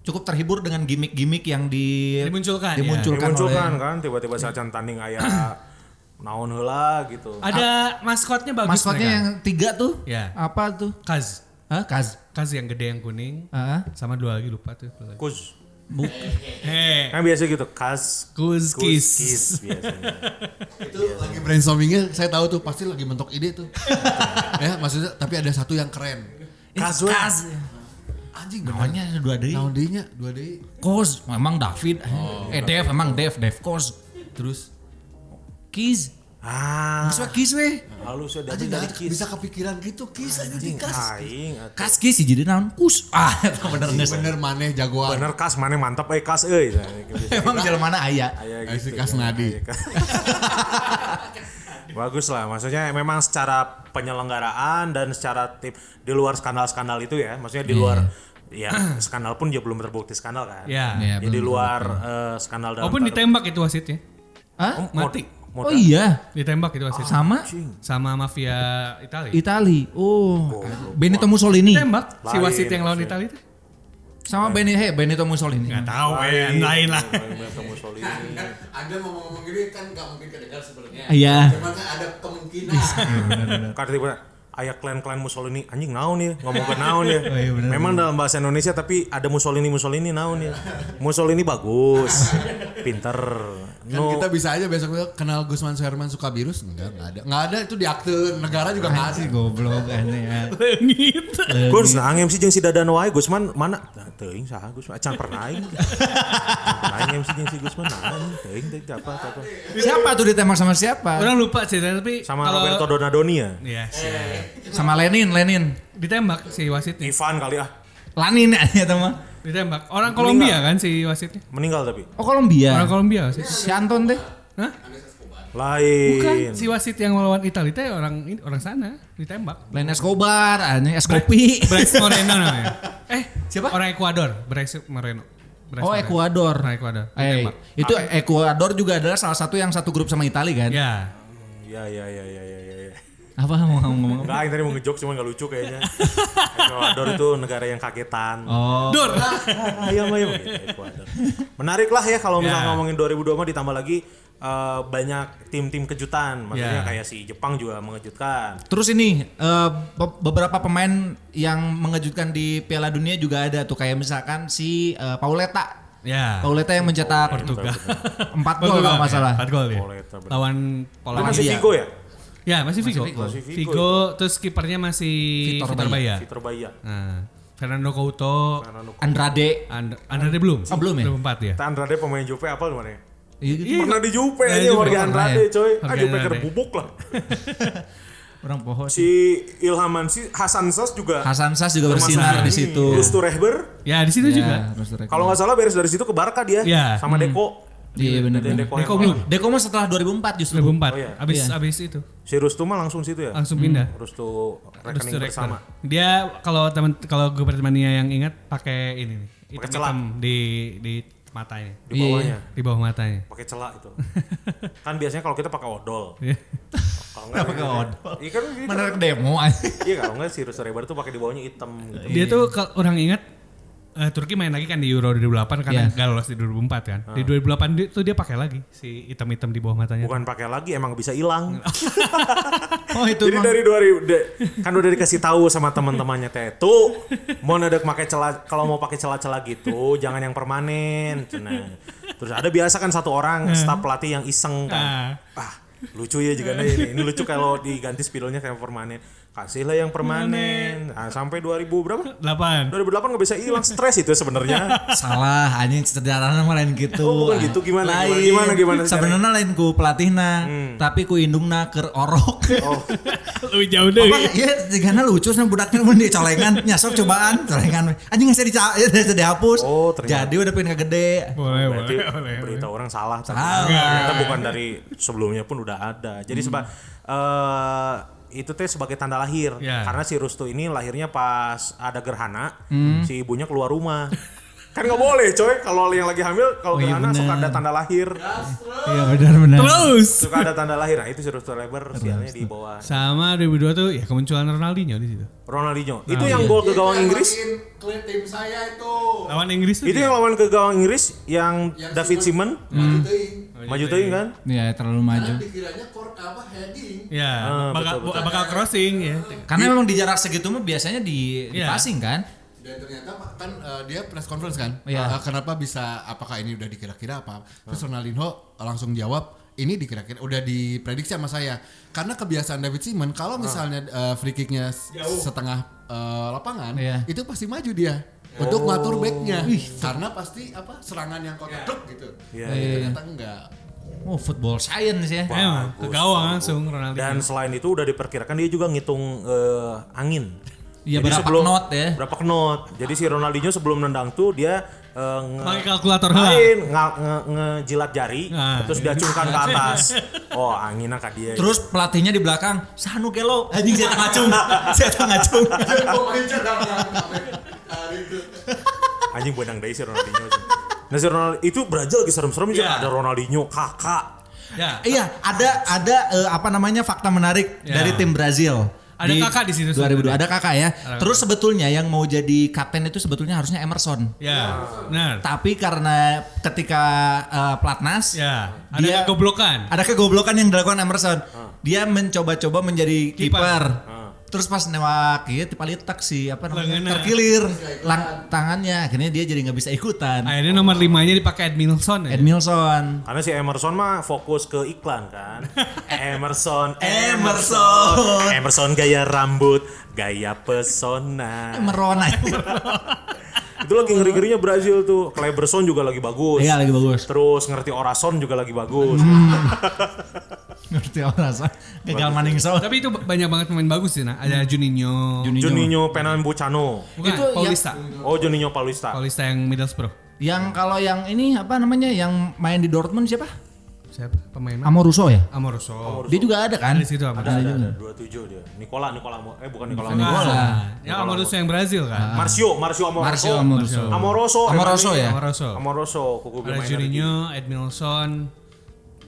S1: cukup terhibur dengan gimmick-gimmick yang di
S2: Dimunculkan, ya.
S1: dimunculkan,
S3: Dimunculkan
S1: oleh
S3: kan tiba-tiba saat tanding ayah naon heula gitu.
S2: Ada maskotnya bagus
S1: maskotnya yang
S2: mereka.
S1: tiga tuh.
S2: Ya.
S1: Apa tuh?
S2: Kaz.
S1: Hah, Kaz.
S2: Kaz yang gede yang kuning.
S1: Ah,
S2: Sama dua lagi lupa tuh. satu lagi. Eh,
S3: Kus.
S2: Heh.
S3: Kan biasa gitu, kas
S2: Kuzkis.
S3: kis biasanya.
S4: Itu lagi brainstormingnya saya tahu tuh pasti lagi mentok ide tuh. ya maksudnya tapi ada satu yang keren.
S1: Kaz. Kaz. Anjing, namanya ada dua deui.
S4: Tahun D-nya dua D.
S1: Kos, memang David. eh Dev, emang Dev, Dev Kos.
S4: Terus
S1: Kiz,
S3: Ah,
S1: maksudnya Kiz weh.
S3: halus ya
S4: anjing
S3: dari dari
S4: nggak
S3: kis.
S4: bisa kepikiran gitu kis aja di
S3: Anjing, ah,
S4: kas.
S3: aing, atuh.
S1: Kas Kiz sih jadi naon kus. Ah, eta bener geus.
S4: Bener maneh jagoan.
S3: Bener kas mana mantap eh kas eh. euy.
S1: Emang jalan mana Ah, iya. aya.
S3: Aya
S4: Aya si Kas Nadi.
S3: Aya gitu ya. Kas- Bagus lah, maksudnya memang secara penyelenggaraan dan secara tip di luar skandal-skandal itu ya, maksudnya di luar ya skandal pun dia belum terbukti skandal kan.
S2: Ya.
S1: Ya,
S3: Ya, di
S1: belum.
S3: luar eh, skandal dalam
S2: Walaupun
S3: tanda-
S2: Oh, ditembak itu wasitnya.
S1: Hah?
S2: Mati.
S1: Oh iya,
S2: Ditembak itu wasitnya.
S1: sama
S2: Sama mafia Italia.
S1: Itali. Oh, Benito Mussolini.
S2: Ditembak si
S3: Lain,
S2: wasit yang lawan
S3: maksudnya.
S2: Italia itu.
S1: Sama Benito hey, Benito Mussolini.
S2: Gak tahu ya,
S3: Lain,
S2: lain lah.
S3: Benito Mussolini.
S4: Anda mau ngomong gini kan nggak mungkin kedengar sebenarnya.
S1: Iya.
S4: Cuman kan ada kemungkinan.
S3: Karena tiba ayah klan-klan Mussolini anjing naon ya ngomong ke naon ya
S1: iya, bener.
S3: memang dalam bahasa Indonesia tapi ada Mussolini Mussolini naon ya Mussolini bagus pinter
S4: Kan
S3: no
S4: kita bisa aja besok besok kenal Gusman Suherman suka virus enggak enggak ada. Enggak ada itu di akte negara juga enggak ada.
S1: Si goblok aneh. ya.
S2: Leungit.
S3: Gus nah MC jeung si Dadan wae Gusman mana Nah, teuing saha Gusman can pernah aing aing MC jeung si Gusman nah teuing teuing apa apa
S1: Siapa tuh ditembak sama siapa?
S2: Orang lupa ceritanya tapi
S3: sama
S2: kalau-
S3: Roberto Donadoni ya
S2: Iya, siap.
S1: Sama Lenin, Lenin.
S2: Ditembak si wasitnya.
S3: Ivan kali ah
S1: Lanin aneh teman.
S2: Ditembak. Orang Kolombia kan si wasitnya.
S3: meninggal tapi
S1: Oh Kolombia.
S2: Orang Kolombia wasit.
S1: Si Anton deh.
S2: Hah?
S3: lain
S2: Bukan si wasit yang melawan Italia teh orang orang sana ditembak.
S1: Lain Escobar, aneh es kopi.
S2: Bryce Moreno namanya. Eh,
S1: Siapa?
S2: Orang Ekuador, Bryce Moreno. Bryce
S1: Oh
S2: Moreno.
S1: Ekuador.
S2: Orang Ekuador.
S1: Eh,
S2: Ditembak.
S1: itu Iya.
S3: Hmm,
S1: Ekuador juga adalah salah satu yang satu grup sama Itali kan?
S2: Ya.
S3: ya ya ya ya ya ya
S1: Apa mau ngomong? ngomong apa?
S3: Enggak, yang tadi mau ngejok cuman gak lucu kayaknya. Ecuador itu negara yang kagetan.
S1: Oh.
S2: Dur.
S3: Ah, ayam ayam. Gitu, Ecuador. Menarik lah ya kalau misalnya
S1: Iya.
S2: Ya.
S3: ngomongin 2002 mah ditambah lagi eh, banyak tim-tim kejutan.
S1: Iya.
S3: Maksudnya
S2: Ya.
S3: kayak si Jepang juga mengejutkan.
S1: Terus ini eh, be- beberapa pemain yang mengejutkan di Piala Dunia juga ada tuh kayak misalkan si eh, Pauleta.
S2: Ya.
S1: Pauleta yang mencetak
S2: Portugal.
S1: empat gol kalau nggak salah.
S2: Empat gol ya.
S3: Boleta, bener.
S2: Lawan
S3: Itu
S2: Polandia.
S3: masih Vigo ya?
S2: Ya, masih Vigo.
S1: Vigo.
S3: Masih Vigo.
S2: Vigo, terus kipernya masih
S1: Vitor
S2: Vitor,
S1: Baia.
S2: Baia.
S3: Vitor Bahia.
S2: Nah, Fernando Couto,
S1: Andrade.
S2: And- Andrade belum?
S1: Oh, belum ya?
S2: Belum empat ya?
S3: Kita Andrade pemain Juve apa gimana ya?
S1: Iya, gitu.
S2: Iya.
S3: Pernah di Juve
S2: Pernah di
S3: aja
S2: Juve,
S3: warga
S1: pernah
S3: Andrade
S1: ya.
S3: coy. Ah
S2: Warga
S3: Juve
S2: Andrade.
S3: kerbubuk lah.
S1: Orang pohon.
S3: Si Ilham Mansi, Hasan Sos juga.
S1: Hasan Sas juga bersinar di situ.
S3: Gustu Rehber.
S2: Ya, di situ
S1: Ya,
S2: juga.
S1: terus direkam.
S3: Kalau nggak salah beres dari situ ke Barca dia.
S2: Iya.
S3: Sama Deko.
S1: Iya benar.
S3: Dan Deko,
S2: Deko
S3: yang-
S2: belum?
S1: Deko mah setelah 2004 justru.
S2: 2004.
S3: Oh, iya.
S2: Abis
S1: Iya.
S2: abis itu
S3: Si Rustu mah langsung situ ya.
S2: langsung pindah.
S3: Rustu
S2: Abis
S3: rekening
S2: itu rektor.
S3: bersama.
S2: Dia kalau teman kalau gue Mania yang ingat pakai ini nih.
S3: Pakai
S2: Hitam-hitam di di matanya.
S3: Di
S1: Iya,
S3: bawahnya.
S2: Di bawah matanya.
S3: Pakai celak itu. kan biasanya kalau kita pakai odol.
S2: Iya.
S3: Kalau nggak
S1: Pakai
S3: ini-
S1: odol.
S3: Iya kan ini-
S1: Menarik demo aja.
S3: Iya kalau nggak si Rustu Rehber tuh pakai di bawahnya hitam gitu.
S2: Dia tuh kalau orang ingat eh, Turki main lagi kan di Euro 2008 karena
S1: Iya.
S2: nggak lolos di 2004 kan. Di 2008 dia, tuh dia pakai lagi si hitam-hitam di bawah matanya.
S3: Ah. Bukan pakai lagi emang bisa hilang.
S1: Oh itu
S3: Jadi
S1: emang.
S3: dari 2000 de- kan udah dikasih tahu sama teman-temannya teh tuh mau nadek pakai celah kalau mau pakai celah-celah gitu jangan yang permanen. Cenah. Terus ada biasa kan satu orang staf pelatih yang iseng kan. Ah, lucu ya juga nih ini. Ini lucu kalau diganti spidolnya kayak permanen. Kasihlah yang permanen. Ah, sampai 2000 berapa?
S2: 8.
S3: 2008 nggak bisa hilang stres itu sebenarnya.
S1: Salah, anjing sederhana mah lain gitu.
S3: Oh, bukan
S1: Ah,
S3: gitu. Gimana, gimana,
S1: Lain.
S3: gimana, gimana caranya?
S1: Sebenarnya lain ku pelatihna, tapi ku indungna keur orok.
S3: Oh,
S2: Lebih jauh deh.
S1: Apa ya jigana lucu sana budaknya mun di colengan nyasok cobaan colengan anjing nggak bisa dica- ya, nggak bisa dihapus
S3: Oh, ternyata.
S1: jadi udah pengen kegede
S2: Boleh,
S3: berarti
S2: boleh, boleh.
S3: berita orang salah. tapi
S1: Salah.
S3: Ternyata bukan dari sebelumnya pun udah ada. Jadi
S2: Hmm.
S3: sebab eh, itu teh sebagai tanda lahir.
S2: Ya.
S3: Karena si Rustu ini lahirnya pas ada gerhana,
S2: Hmm.
S3: si ibunya keluar rumah. kan nggak boleh coy kalau yang lagi hamil
S1: Oh,
S3: kalau
S1: iya
S3: gerhana suka
S1: bener.
S3: ada tanda lahir.
S1: iya benar benar
S2: Terus.
S3: suka ada tanda lahir. Nah, itu si Rustu Leber sialnya di bawah
S2: Sama 2002 tuh ya kemunculan Ronaldinho di situ.
S3: Ronaldinho.
S2: Nah,
S3: itu
S2: iya.
S3: yang gol ke gawang Inggris.
S4: Klien tim saya Iya, itu.
S2: Lawan Inggris tuh
S3: Itu yang lawan ke gawang Inggris yang,
S4: Yang
S3: David Simon
S4: Hmm.
S2: Oh, iya,
S3: maju teuing kan?
S1: ya terlalu maju
S4: Karena pikirannya kor apa heading.
S2: Ya,
S3: Ah,
S2: bakal,
S3: betul, betul.
S2: bakal crossing ya.
S1: karena memang di jarak segitu mah biasanya di
S2: Iya.
S1: dipasing kan
S4: Dan ternyata Pak, kan eh, dia press conference kan.
S1: Iya. Hmm.
S4: Eh, kenapa bisa apakah ini udah dikira-kira apa? Terus Ronaldinho langsung jawab ini dikira-kira udah diprediksi sama saya karena kebiasaan David
S1: Ah.
S4: Simon kalau misalnya eh, free kicknya s- setengah eh, lapangan
S1: Iya.
S4: itu pasti maju dia
S1: Oh.
S4: untuk ngatur backnya karena pasti apa serangan yang kotak truk gitu
S3: Iya,
S4: Tapi
S1: iya, iya.
S4: ternyata enggak
S1: oh football science ya
S2: Emang, ke gawang langsung Ronaldinho.
S3: Dan
S1: Iya.
S3: selain itu udah diperkirakan dia juga ngitung eh, angin.
S1: Iya, berapa knot ya.
S3: Berapa knot. Jadi si Ronaldinho sebelum nendang tuh dia eh, nge-
S2: Pakai kalkulator heula.
S3: main ngejilat jari
S2: Nah.
S3: terus dia acungkan ke atas. Oh, anginnya ka dia.
S1: Ah, iya. terus pelatihnya di belakang sanu gelo anjing saya ngacung saya ngacung Oh,
S3: anjing benang deh si Ronaldinho. Nah, si Ronald itu Brazil lagi serem-serem juga.
S2: Iya.
S3: ada Ronaldinho, Kakak.
S2: Ya.
S1: Iya, ada ada eh, apa namanya fakta menarik
S2: Ya.
S1: dari tim Brazil.
S2: Ada kakak di situ
S1: 2002
S2: sebenarnya.
S1: ada kakak ya.
S2: Ada
S1: Terus sebetulnya yang mau jadi kapten itu sebetulnya harusnya Emerson.
S2: Ya, benar.
S1: Tapi karena ketika eh, pelatnas
S2: Ya,
S1: Dia-
S2: ada keblokan.
S1: ada kegoblokan yang dilakukan Emerson. Dia mencoba-coba menjadi
S2: Kiper.
S1: kiper. Terus pas newak ya tipalitak si apa namanya
S2: Lengannya.
S1: terkilir lang- tangannya akhirnya dia jadi nggak bisa ikutan.
S2: Akhirnya nomor limanya dipakai Edmilson ya.
S1: Edmilson.
S3: Karena si Emerson mah fokus ke iklan kan. Emerson,
S1: Emerson.
S3: Emerson. Emerson gaya rambut, gaya pesona.
S1: Merona.
S3: itu lagi ngeri-ngerinya Brazil tuh. Kleberson juga lagi bagus.
S1: Iya lagi Hmm, bagus.
S3: Terus ngerti Orason juga lagi bagus.
S1: Ngerti orang rasa gagal maning so.
S2: Tapi itu banyak banget pemain bagus sih, nah. Ada Juninho.
S3: Juninho Pernambucano.
S2: Bukan,
S1: Itu
S2: Paulista.
S3: Oh, Juninho Paulista.
S2: Paulista yang Middlesbrough.
S1: Yang kalau yang ini apa namanya yang main di Dortmund siapa?
S2: Siapa pemain?
S1: Amoruso ya.
S2: Amoroso.
S1: Dia juga ada kan?
S2: Ada di situ Amoroso.
S3: Ada, ada, ada. 27 dia. Nicola, Nicola. Mo- Eh, bukan Nicola. Mo-
S2: Nicola. Ya Amoroso yang Brazil kan.
S3: Marcio, Marcio Amoroso.
S1: Marcio Amoroso.
S3: Amoroso.
S1: Amoroso
S3: emang
S1: ya?
S3: ini.
S2: Amoroso.
S3: Amoroso, kuku
S2: Ada
S3: main.
S2: Juninho, Edmilson,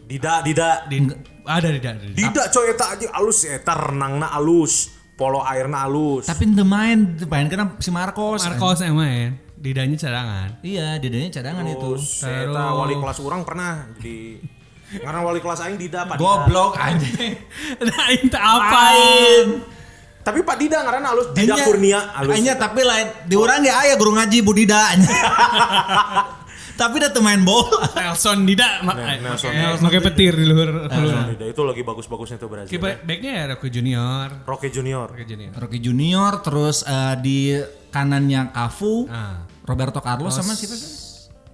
S3: Dida, Dida.
S2: Di, ada di ada di.
S3: Dida coy eta aja alus eta renangna alus, polo airna alus.
S1: Tapi the main, the main kena si Marcos.
S2: Marcos yang main, didanya cadangan.
S1: Iya, dadanya cadangan itu.
S3: Terus eta Oh, wali kelas orang pernah jadi karena wali kelas aing Dida Pak Dida.
S1: Goblok anjing.
S2: Nah, itu apain?
S3: Tapi Pak Dida karena alus Dida
S1: Dinya-
S3: Kurnia alus. Nah,
S1: Hanya tapi lain di orang ya aya guru ngaji budida. tapi udah main bola.
S2: Nelson Dida mak
S3: Nah, Nelson.
S2: pakai petir di luar
S3: Alus
S2: keluar.
S3: Dida itu lagi bagus-bagusnya tuh Brazil.
S2: Kiper backnya ya Rocky Junior.
S3: Rocky Junior.
S2: Rocky Junior.
S1: Rocky Junior terus eh, di kanannya Cafu,
S2: Ah.
S1: Roberto Carlos sama siapa sih?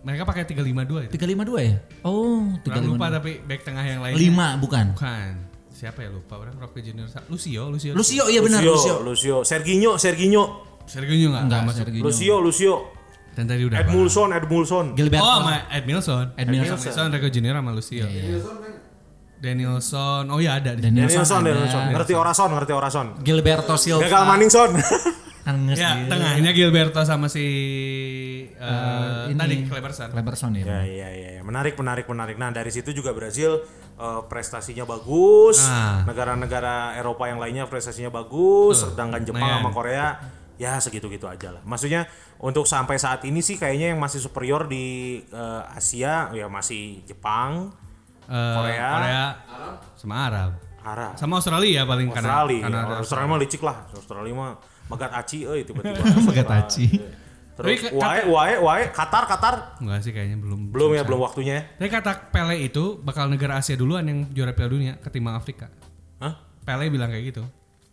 S2: Mereka pakai 352 itu.
S1: 352 ya? Oh,
S2: Kurang
S1: 352.
S2: lupa tapi back tengah yang lain.
S1: 5 bukan.
S2: Bukan. Siapa ya lupa orang Rocky Junior. sa- Lucio, Lucio.
S1: Lucio iya benar Lucio.
S3: Lucio, Lucio, Serginho, Serginho,
S2: Sergio enggak?
S1: Enggak,
S2: masuk.
S1: Sergio.
S3: Lucio, Lucio,
S2: Dan tadi udah. bahas.
S3: Edmulson, Edmulson.
S1: Gilberto.
S2: Oh, sama Ed Milson.
S1: Ed Milson. Iya,
S2: Milson, Rico Junior sama Lucio.
S3: kan?
S2: Danielson. Oh ya ada.
S1: Dan-
S3: Danielson,
S1: Nelson ada.
S3: Danielson. Ngerti Orason, ngerti Orason.
S1: Gilberto Silva.
S3: Gagal Maningson.
S1: Anges
S2: Ya,
S1: dia.
S2: tengahnya Gilberto sama si eh
S1: ini.
S2: tadi Kleberson.
S1: Cleberson ya.
S2: Hmm.
S3: ya, ya, ya, ya. Menarik, menarik, menarik. Nah, dari situ juga Brazil eh, prestasinya bagus.
S2: Ah.
S3: Negara-negara Eropa yang lainnya prestasinya bagus, sedangkan Jepang
S2: lumayan.
S3: sama Korea ya segitu-gitu aja lah. Maksudnya untuk sampai saat ini sih kayaknya yang masih superior di eh, Asia ya masih Jepang,
S2: Eh,
S3: Korea.
S2: Korea sama Arab.
S3: Arab.
S2: Sama Australia ya, paling karena
S3: Australia.
S2: karena ada-
S3: Australia mah licik lah. Australia mah megat aci euy tiba-tiba.
S1: Megat aci.
S3: Terus
S2: Tapi
S3: wae wae wae Qatar Qatar
S2: Enggak sih kayaknya belum.
S3: belum ya belum waktunya. ya?
S2: Tapi kata Pele itu bakal negara Asia duluan yang juara Piala Dunia ketimbang Afrika.
S3: Hah?
S2: Pele bilang kayak gitu.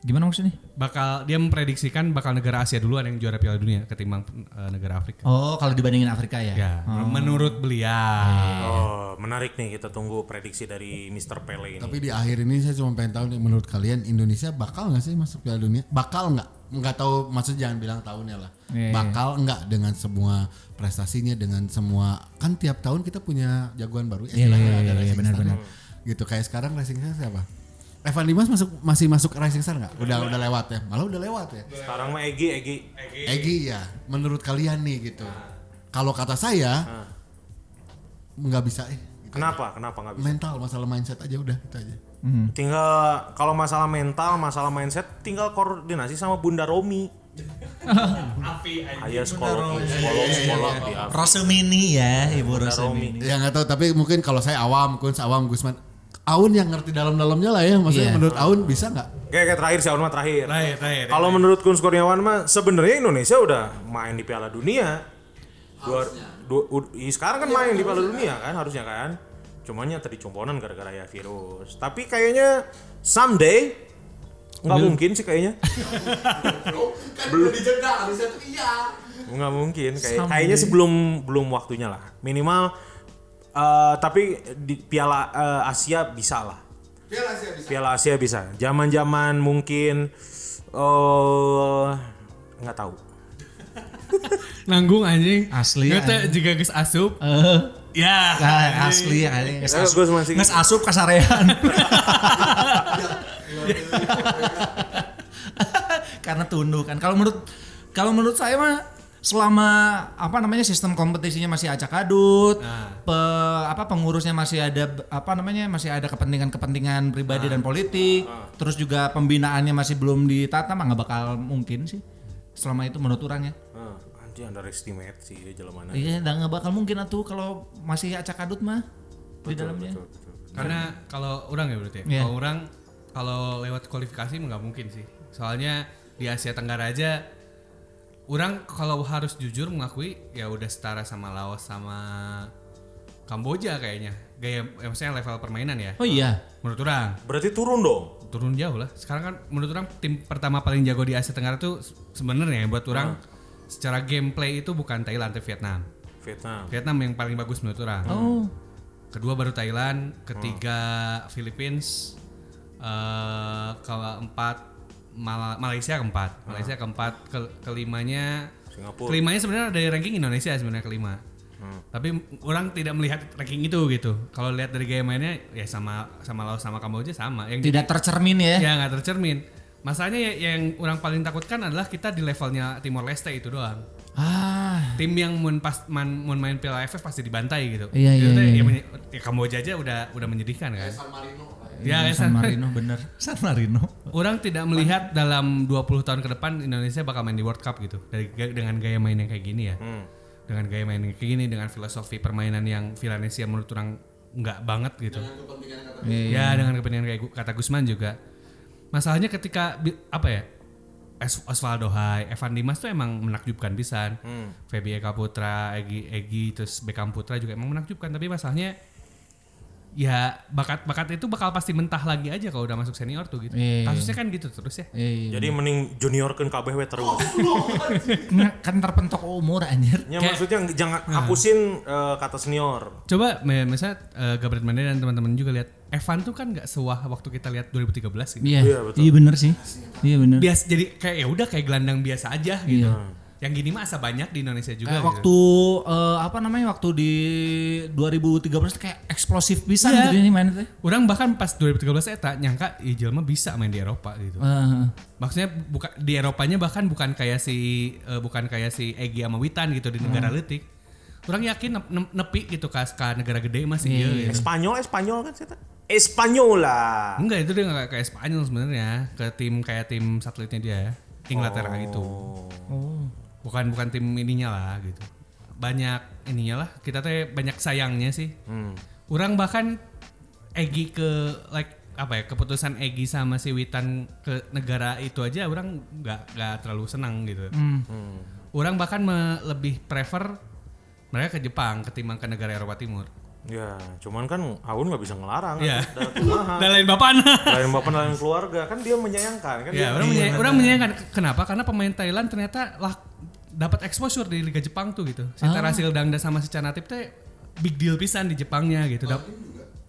S1: Gimana maksudnya?
S2: Bakal dia memprediksikan bakal negara Asia duluan yang juara Piala Dunia ketimbang eh, negara Afrika.
S1: Oh, kalau dibandingin Afrika ya.
S2: Ya, menurut beliau.
S1: Hmm.
S3: Oh, menarik nih kita tunggu prediksi dari Mr. Pele ini.
S4: Tapi di akhir ini saya cuma pengen tahu nih menurut kalian Indonesia bakal nggak sih masuk Piala Dunia? Bakal nggak? Nggak tahu maksudnya jangan bilang tahunnya lah.
S1: Iya,
S4: bakal nggak dengan semua prestasinya dengan semua kan tiap tahun kita punya jagoan baru ya.
S1: Iya,
S4: silahkan
S1: iya,
S4: ada
S1: iya,
S4: Rising
S1: benar,
S4: Star.
S1: benar.
S4: Gitu kayak sekarang Rising Star siapa? Evan Dimas masuk masih masuk Rising Star nggak? Udah udah lewat ya? Malah udah lewat ya.
S3: Sekarang mah Egi Egi.
S4: Egi ya, menurut kalian nih gitu. Kalau kata saya nggak bisa eh. Gitu.
S3: Kenapa? Kenapa nggak bisa?
S4: Mental masalah mindset aja udah itu aja.
S3: Tinggal kalau masalah mental, masalah mindset tinggal koordinasi sama Bunda Romi. Ayah sekolah, sekolah, sekolah, di Afrika.
S1: iya, Rosemini ya, Ibu Rosemini.
S4: Ya nggak tahu tapi mungkin kalau saya awam, Kun, awam Gusman, Aun yang ngerti dalam-dalamnya lah ya,
S1: Iya.
S4: maksudnya menurut Aun bisa nggak?
S3: Oke, oke, terakhir sih, Alma, terakhir.
S2: Terakhir, terakhir.
S3: Kalau menurut Kun Kurniawan mah sebenarnya Indonesia udah main di Piala Dunia. Dua, dua, ud- i- sekarang kan main di Piala Dunia kan harusnya kan. Cuman ya tadi componan gara-gara ya virus. Tapi kayaknya someday nggak mungkin sih kayaknya. kan
S4: Belum dijeda, bisa tuh iya.
S3: Nggak mungkin. Kayak, kayaknya sebelum belum waktunya lah. Minimal eh, tapi di Piala eh, Asia bisa lah.
S4: Piala Asia bisa.
S3: Piala Asia bisa. Zaman-zaman mungkin eh nggak tahu.
S2: Nanggung anjing.
S1: Asli,
S2: Nggak teh,
S1: anjing.
S2: jika geus asup.
S1: Eh,
S2: Ya.
S1: ah, asli ya anjing. Nges
S3: Ya,
S1: asup,
S3: gua masih-
S1: nges asup kasarean.
S3: Iya.
S1: Karena tunduk kan. Kalau menurut kalau menurut saya mah selama apa namanya sistem kompetisinya masih acak adut,
S3: Nah.
S1: pe- apa pengurusnya masih ada b- apa namanya masih ada kepentingan-kepentingan pribadi
S3: Nah.
S1: dan politik, terus juga pembinaannya masih belum ditata mah nggak bakal mungkin sih. Selama itu menurut orang ya.
S3: Ah, anjing underestimate sih ya jalan mana.
S1: Iya, dan nggak bakal mungkin atuh kalau masih acak adut mah di dalamnya.
S3: Betul, betul.
S2: Karena kalau orang ya berarti. ya?
S1: Iya.
S2: Kalau orang kalau lewat kualifikasi mah nggak mungkin sih. Soalnya di Asia Tenggara aja orang kalau harus jujur mengakui ya udah setara sama Laos sama Kamboja kayaknya. Gaya ya maksudnya level permainan ya.
S1: Oh iya.
S2: Menurut orang
S3: Berarti turun dong.
S2: turun jauh lah. Sekarang kan menurut orang tim pertama paling jago di Asia Tenggara tuh se- sebenarnya ya buat orang
S1: Hmm.
S2: secara gameplay itu bukan Thailand tapi Vietnam.
S3: Vietnam.
S2: Vietnam yang paling bagus menurut orang.
S1: Oh.
S2: Kedua baru Thailand, ketiga Philippines, eh keempat Mala- Malaysia keempat, Malaysia keempat, Ke- kelimanya
S3: Singapura.
S2: Kelimanya sebenarnya dari ranking Indonesia ya sebenarnya kelima. Tapi orang tidak melihat ranking itu gitu. Kalau lihat dari gaya mainnya ya sama sama Laos sama Kamboja sama. Yang
S1: Tidak tercermin ya.
S2: ya nggak tercermin. Masalahnya ya- yang orang paling takutkan adalah kita di levelnya Timor Leste itu doang.
S1: Ah,
S2: tim yang mau pas man- mun main Piala AFF pasti dibantai gitu.
S1: Iya, iya,
S2: Itu teh
S1: iya,
S2: ya
S1: iya.
S2: menye- ya Kamboja aja udah udah menyedihkan kan.
S4: San Marino lah ya.
S2: Ya,
S1: iya,
S2: ya,
S1: San
S2: San-
S1: Marino bener. San Marino.
S2: Orang tidak melihat dalam 20 tahun ke depan Indonesia bakal main di World Cup gitu. Dari ga- dengan gaya main yang kayak gini ya. Dengan gaya main yang kayak gini dengan filosofi permainan yang Villanesia menurut orang nggak banget gitu.
S1: Hmm.
S2: Ya dengan kepentingan kayak gu- kata Gusman juga. Masalahnya ketika bi- apa ya? As- Osvaldo Hai, Evan Dimas tuh emang menakjubkan pisan.
S1: Hmm.
S2: Feby Eka Putra, Egi Egi terus Beckham Putra juga emang menakjubkan tapi masalahnya ya bakat-bakat itu bakal pasti mentah lagi aja kalau udah masuk senior tuh
S1: Iya,
S2: gitu.
S1: iya, iya.
S2: Kasusnya kan gitu terus ya.
S1: Eh,
S3: Jadi mending juniorkan KBW terus.
S1: nah, kan terpentok umur anjir.
S2: Kayak-
S3: Ya
S2: Nah.
S3: maksudnya jangan hapusin eh, kata senior.
S2: Coba me- misalnya eh, Gabriel Mane dan teman-teman juga lihat Evan tuh kan nggak sewah waktu kita lihat 2013 gitu.
S1: Iya.
S3: Iya, betul.
S1: Iya bener sih. Iya bener.
S2: Bias jadi kayak ya udah kayak gelandang biasa aja gitu.
S1: Iya.
S2: Yang gini mah asa banyak di Indonesia juga.
S1: Kayak
S2: gitu.
S1: waktu eh, apa namanya waktu di 2013 kayak eksplosif pisan
S2: Iya.
S1: gitu ini mainnya teh.
S2: Orang bahkan pas 2013 eta nyangka "Ih, jelema bisa main di Eropa gitu.
S1: Eh,
S2: Maksudnya buka, di Eropanya bahkan bukan kayak si eh, bukan kayak si Egi sama Witan gitu di negara leutik. Orang yakin nep- nep- nepi gitu ke, ke negara gede masih iya gitu.
S3: Espanyol, Espanyol kan saya Espanyola.
S2: Enggak itu dia nggak kayak Spanyol sebenarnya ke tim kayak tim satelitnya dia ya. Inglaterra gitu.
S3: Oh.
S2: Bukan bukan tim ininya lah gitu. Banyak ininya lah. Kita teh banyak sayangnya sih. Orang bahkan Egi ke like apa ya keputusan Egi sama si Witan ke negara itu aja orang nggak nggak terlalu senang gitu. Orang bahkan me- lebih prefer mereka ke Jepang ketimbang ke negara Eropa Timur.
S3: Ya, cuman kan Aun nggak bisa ngelarang.
S2: Iya.
S3: Ada kumaha.
S2: Dan lain bapakna.
S3: Lain bapak lain keluarga kan dia menyayangkan kan.
S2: Ya,
S3: dia-
S2: orang, menyayang, orang menyayangkan Ke- kenapa? Karena pemain Thailand ternyata lah dapat exposure di Liga Jepang tuh gitu.
S1: Ah.
S2: Si Tarasil Dangda sama si Canatip teh big deal pisan di Jepangnya gitu. Dap-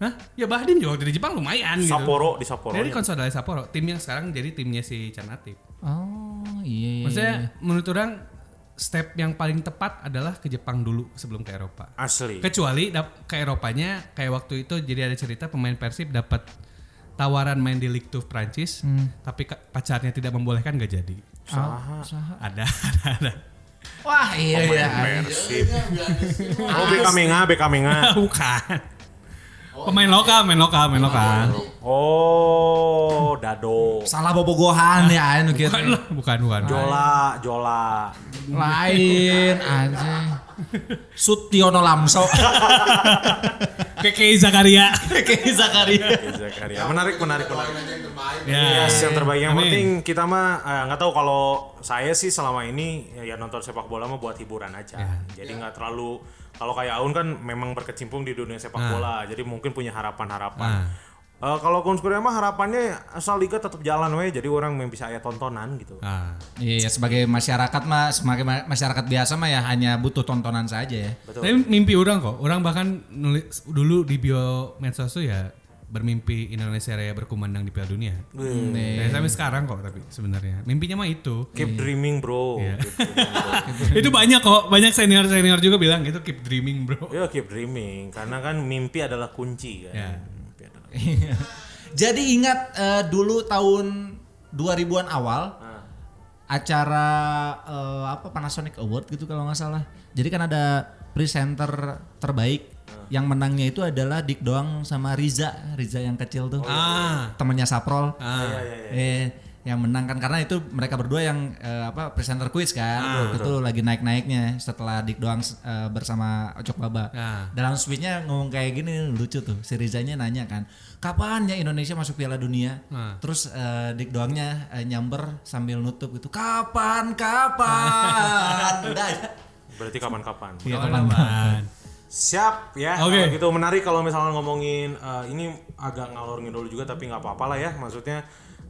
S2: Hah? Ya Bahdim juga waktu di Jepang lumayan gitu.
S3: Sapporo di Sapporo.
S2: Dari Consolidasi Sapporo, tim yang sekarang jadi timnya si Canatip.
S1: Oh iya. iya,
S2: Maksudnya
S1: iya.
S2: menurut orang step yang paling tepat adalah ke Jepang dulu sebelum ke Eropa.
S3: Asli.
S2: Kecuali dap- ke Eropanya kayak waktu itu jadi ada cerita pemain Persib dapat tawaran main di Ligue 2 Prancis,
S3: Hmm.
S2: tapi ka- pacarnya tidak membolehkan gak jadi.
S3: Ah,
S2: Ada, ada, ada.
S1: Wah iya iya.
S3: Persib. Oh, BK Menga, BK Menga.
S2: Ah, Bukan. Pemain lokal, pemain lokal, pemain lokal.
S3: Oh, Dado.
S1: Salah bobogohan ya anu gitu.
S2: Bukan, lah, bukan, bukan.
S3: Jola, Jola.
S1: Lain aja. Sutiono Lamso.
S2: KKI Zakaria.
S1: Kayak Zakaria.
S3: Zakaria. Menarik, menarik, menarik.
S4: Aja yang terbaik.
S2: ya.
S3: Yes, yang terbaik. Yang
S2: Amin.
S3: penting kita mah eh, nggak tahu kalau saya sih selama ini ya nonton sepak bola mah buat hiburan aja.
S2: Iya.
S3: Jadi nggak terlalu kalau kayak Aun kan memang berkecimpung di
S2: Nah.
S3: dunia sepak bola, jadi mungkin punya harapan-harapan. Eh, kalau Kunskuria mah harapannya asal liga tetap jalan we, jadi orang yang bisa aya tontonan gitu.
S2: Ah.
S1: Iya sebagai masyarakat mah sebagai ma- masyarakat biasa mah ya hanya butuh tontonan saja ya.
S3: Betul.
S2: Tapi mimpi orang kok. Orang bahkan nulis dulu di bio medsos tuh ya bermimpi Indonesia Raya berkumandang di Piala Dunia.
S3: Wih,
S2: Ya, sampai sekarang kok tapi sebenarnya. Mimpinya mah itu.
S3: Keep dreaming, bro.
S2: Iya.
S3: Keep dreaming, bro.
S2: itu banyak kok, banyak senior-senior juga bilang itu keep dreaming, Bro.
S3: Ya keep dreaming karena kan mimpi adalah kunci kan.
S2: Ya.
S3: Mimpi adalah-
S1: Iya. Jadi ingat eh, dulu tahun 2000-an awal acara eh, apa Panasonic Award gitu kalau nggak salah. Jadi kan ada presenter terbaik yang menangnya itu adalah Dik Doang sama Riza, Riza yang kecil tuh.
S2: Ah.
S1: Temennya Saprol.
S2: Ah.
S1: Eh yang menang kan karena itu mereka berdua yang eh, apa presenter quiz kan. Waktu itu lagi naik-naiknya setelah Dik Doang eh, bersama Ocok Baba.
S2: Ah.
S1: Dalam speechnya ngomong kayak gini lucu tuh. Si Rizanya nanya kan, kapan ya Indonesia masuk Piala Dunia?
S2: Nah.
S1: Terus eh, Dik Doangnya eh, nyamber sambil nutup gitu, kapan kapan. Udah aja.
S3: Berarti kapan-kapan.
S1: Iya,
S2: Kawan-kawan.
S3: Siap ya.
S2: Oke.
S3: Kalau gitu menarik kalau misalnya ngomongin eh, ini agak ngalor ngidul juga tapi nggak apa-apa lah ya. Maksudnya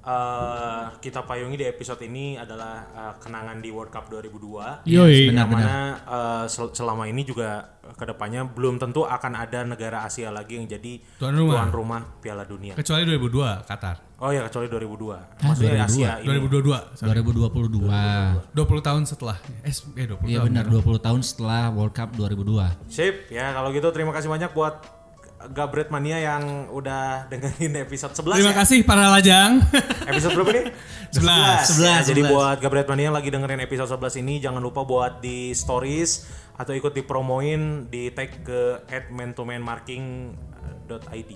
S3: eh, kita payungi di episode ini adalah eh, kenangan di World Cup 2002.
S2: Yoi.
S3: Yang mana eh, sel- selama ini juga eh, kedepannya belum tentu akan ada negara Asia lagi yang jadi
S2: Tuan rumah.
S3: Piala Dunia.
S2: Kecuali 2002 Qatar.
S3: Oh ya kecuali 2002. Maksudnya Asia ini.
S2: 2022. sorry.
S1: 2022.
S2: 20 tahun setelah. Eh, s- eh 20
S1: Iya
S2: tahun.
S1: benar 20 tahun setelah World Cup 2002.
S3: Sip ya kalau gitu terima kasih banyak buat Gabret Mania yang udah dengerin episode 11
S2: Terima
S3: ya.
S2: kasih para lajang.
S3: Episode berapa nih?
S2: 11.
S1: 11,
S3: Ya, Jadi
S1: 11.
S3: buat Gabret Mania yang lagi dengerin episode 11 ini jangan lupa buat di stories atau ikut dipromoin di tag ke @man2manmarking.id.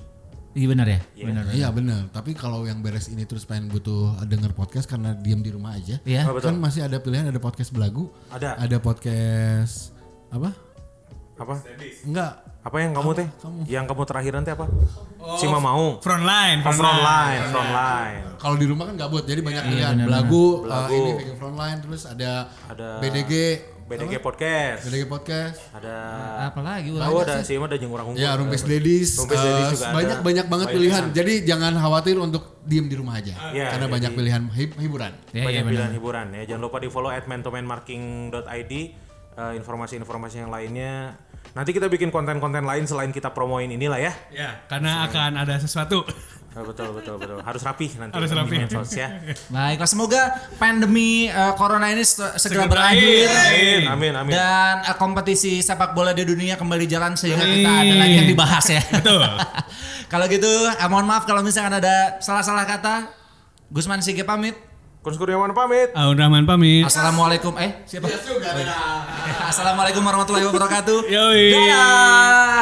S1: Iya benar ya?
S3: Iya.
S1: Benar.
S4: Iya benar. Tapi kalau yang beres ini terus pengen butuh denger podcast karena diem di rumah aja.
S1: Iya.
S3: Oh, betul.
S4: Kan masih ada pilihan ada podcast belagu.
S3: Ada.
S4: Ada podcast apa?
S3: Apa?
S4: Enggak.
S3: Apa yang kamu teh? Yang kamu terakhiran teh apa? Si Cima mau.
S2: Frontline,
S3: Oh, frontline, frontline.
S4: Kalau di rumah kan gabut jadi banyak
S1: Iya,
S4: pilihan. belagu,
S3: Belagu.
S4: eh, ini bikin frontline terus ada,
S3: Ada-
S4: BDG,
S3: BDG
S4: apa?
S3: Podcast.
S4: BDG podcast.
S3: Ada
S1: Apalagi gua.
S3: Oh, ada si Ima ada jeung urang unggul.
S4: Ya, Rumpis Ladies,
S3: Eh, Rumpis Ladies
S4: eh,
S3: juga ada.
S4: banyak banyak banget
S3: Banyak
S4: pilihan.
S3: pilihan.
S4: Jadi jangan khawatir untuk diem di rumah aja,
S3: Iya,
S4: karena
S3: jadi-
S4: banyak pilihan hib- hiburan.
S1: Iya, iya
S3: banyak
S1: benar.
S3: pilihan hiburan ya jangan lupa di follow at mantomanmarking.id Eh, informasi-informasi yang lainnya nanti kita bikin konten-konten lain selain kita promoin inilah ya
S2: Ya, karena akan ada sesuatu.
S3: Eh, betul betul betul harus rapi nanti
S2: Harus
S3: di
S2: rapi.
S3: medsos ya
S1: Baiklah, semoga pandemi eh, corona ini se- segera
S2: Segera
S1: berakhir.
S2: berakhir.
S3: amin amin amin
S1: Dan eh, kompetisi sepak bola di dunia kembali jalan sehingga
S2: Amin.
S1: kita ada lagi yang dibahas ya.
S2: Betul.
S1: kalau gitu, eh, mohon maaf kalau misalkan ada salah-salah kata. Gusman Sige pamit.
S3: Kus Kurniawan pamit
S2: Aun Rahman pamit.
S1: Assalamualaikum. Eh, siapa? Assalamualaikum warahmatullahi wabarakatuh.
S2: Yoi.
S1: Dadah.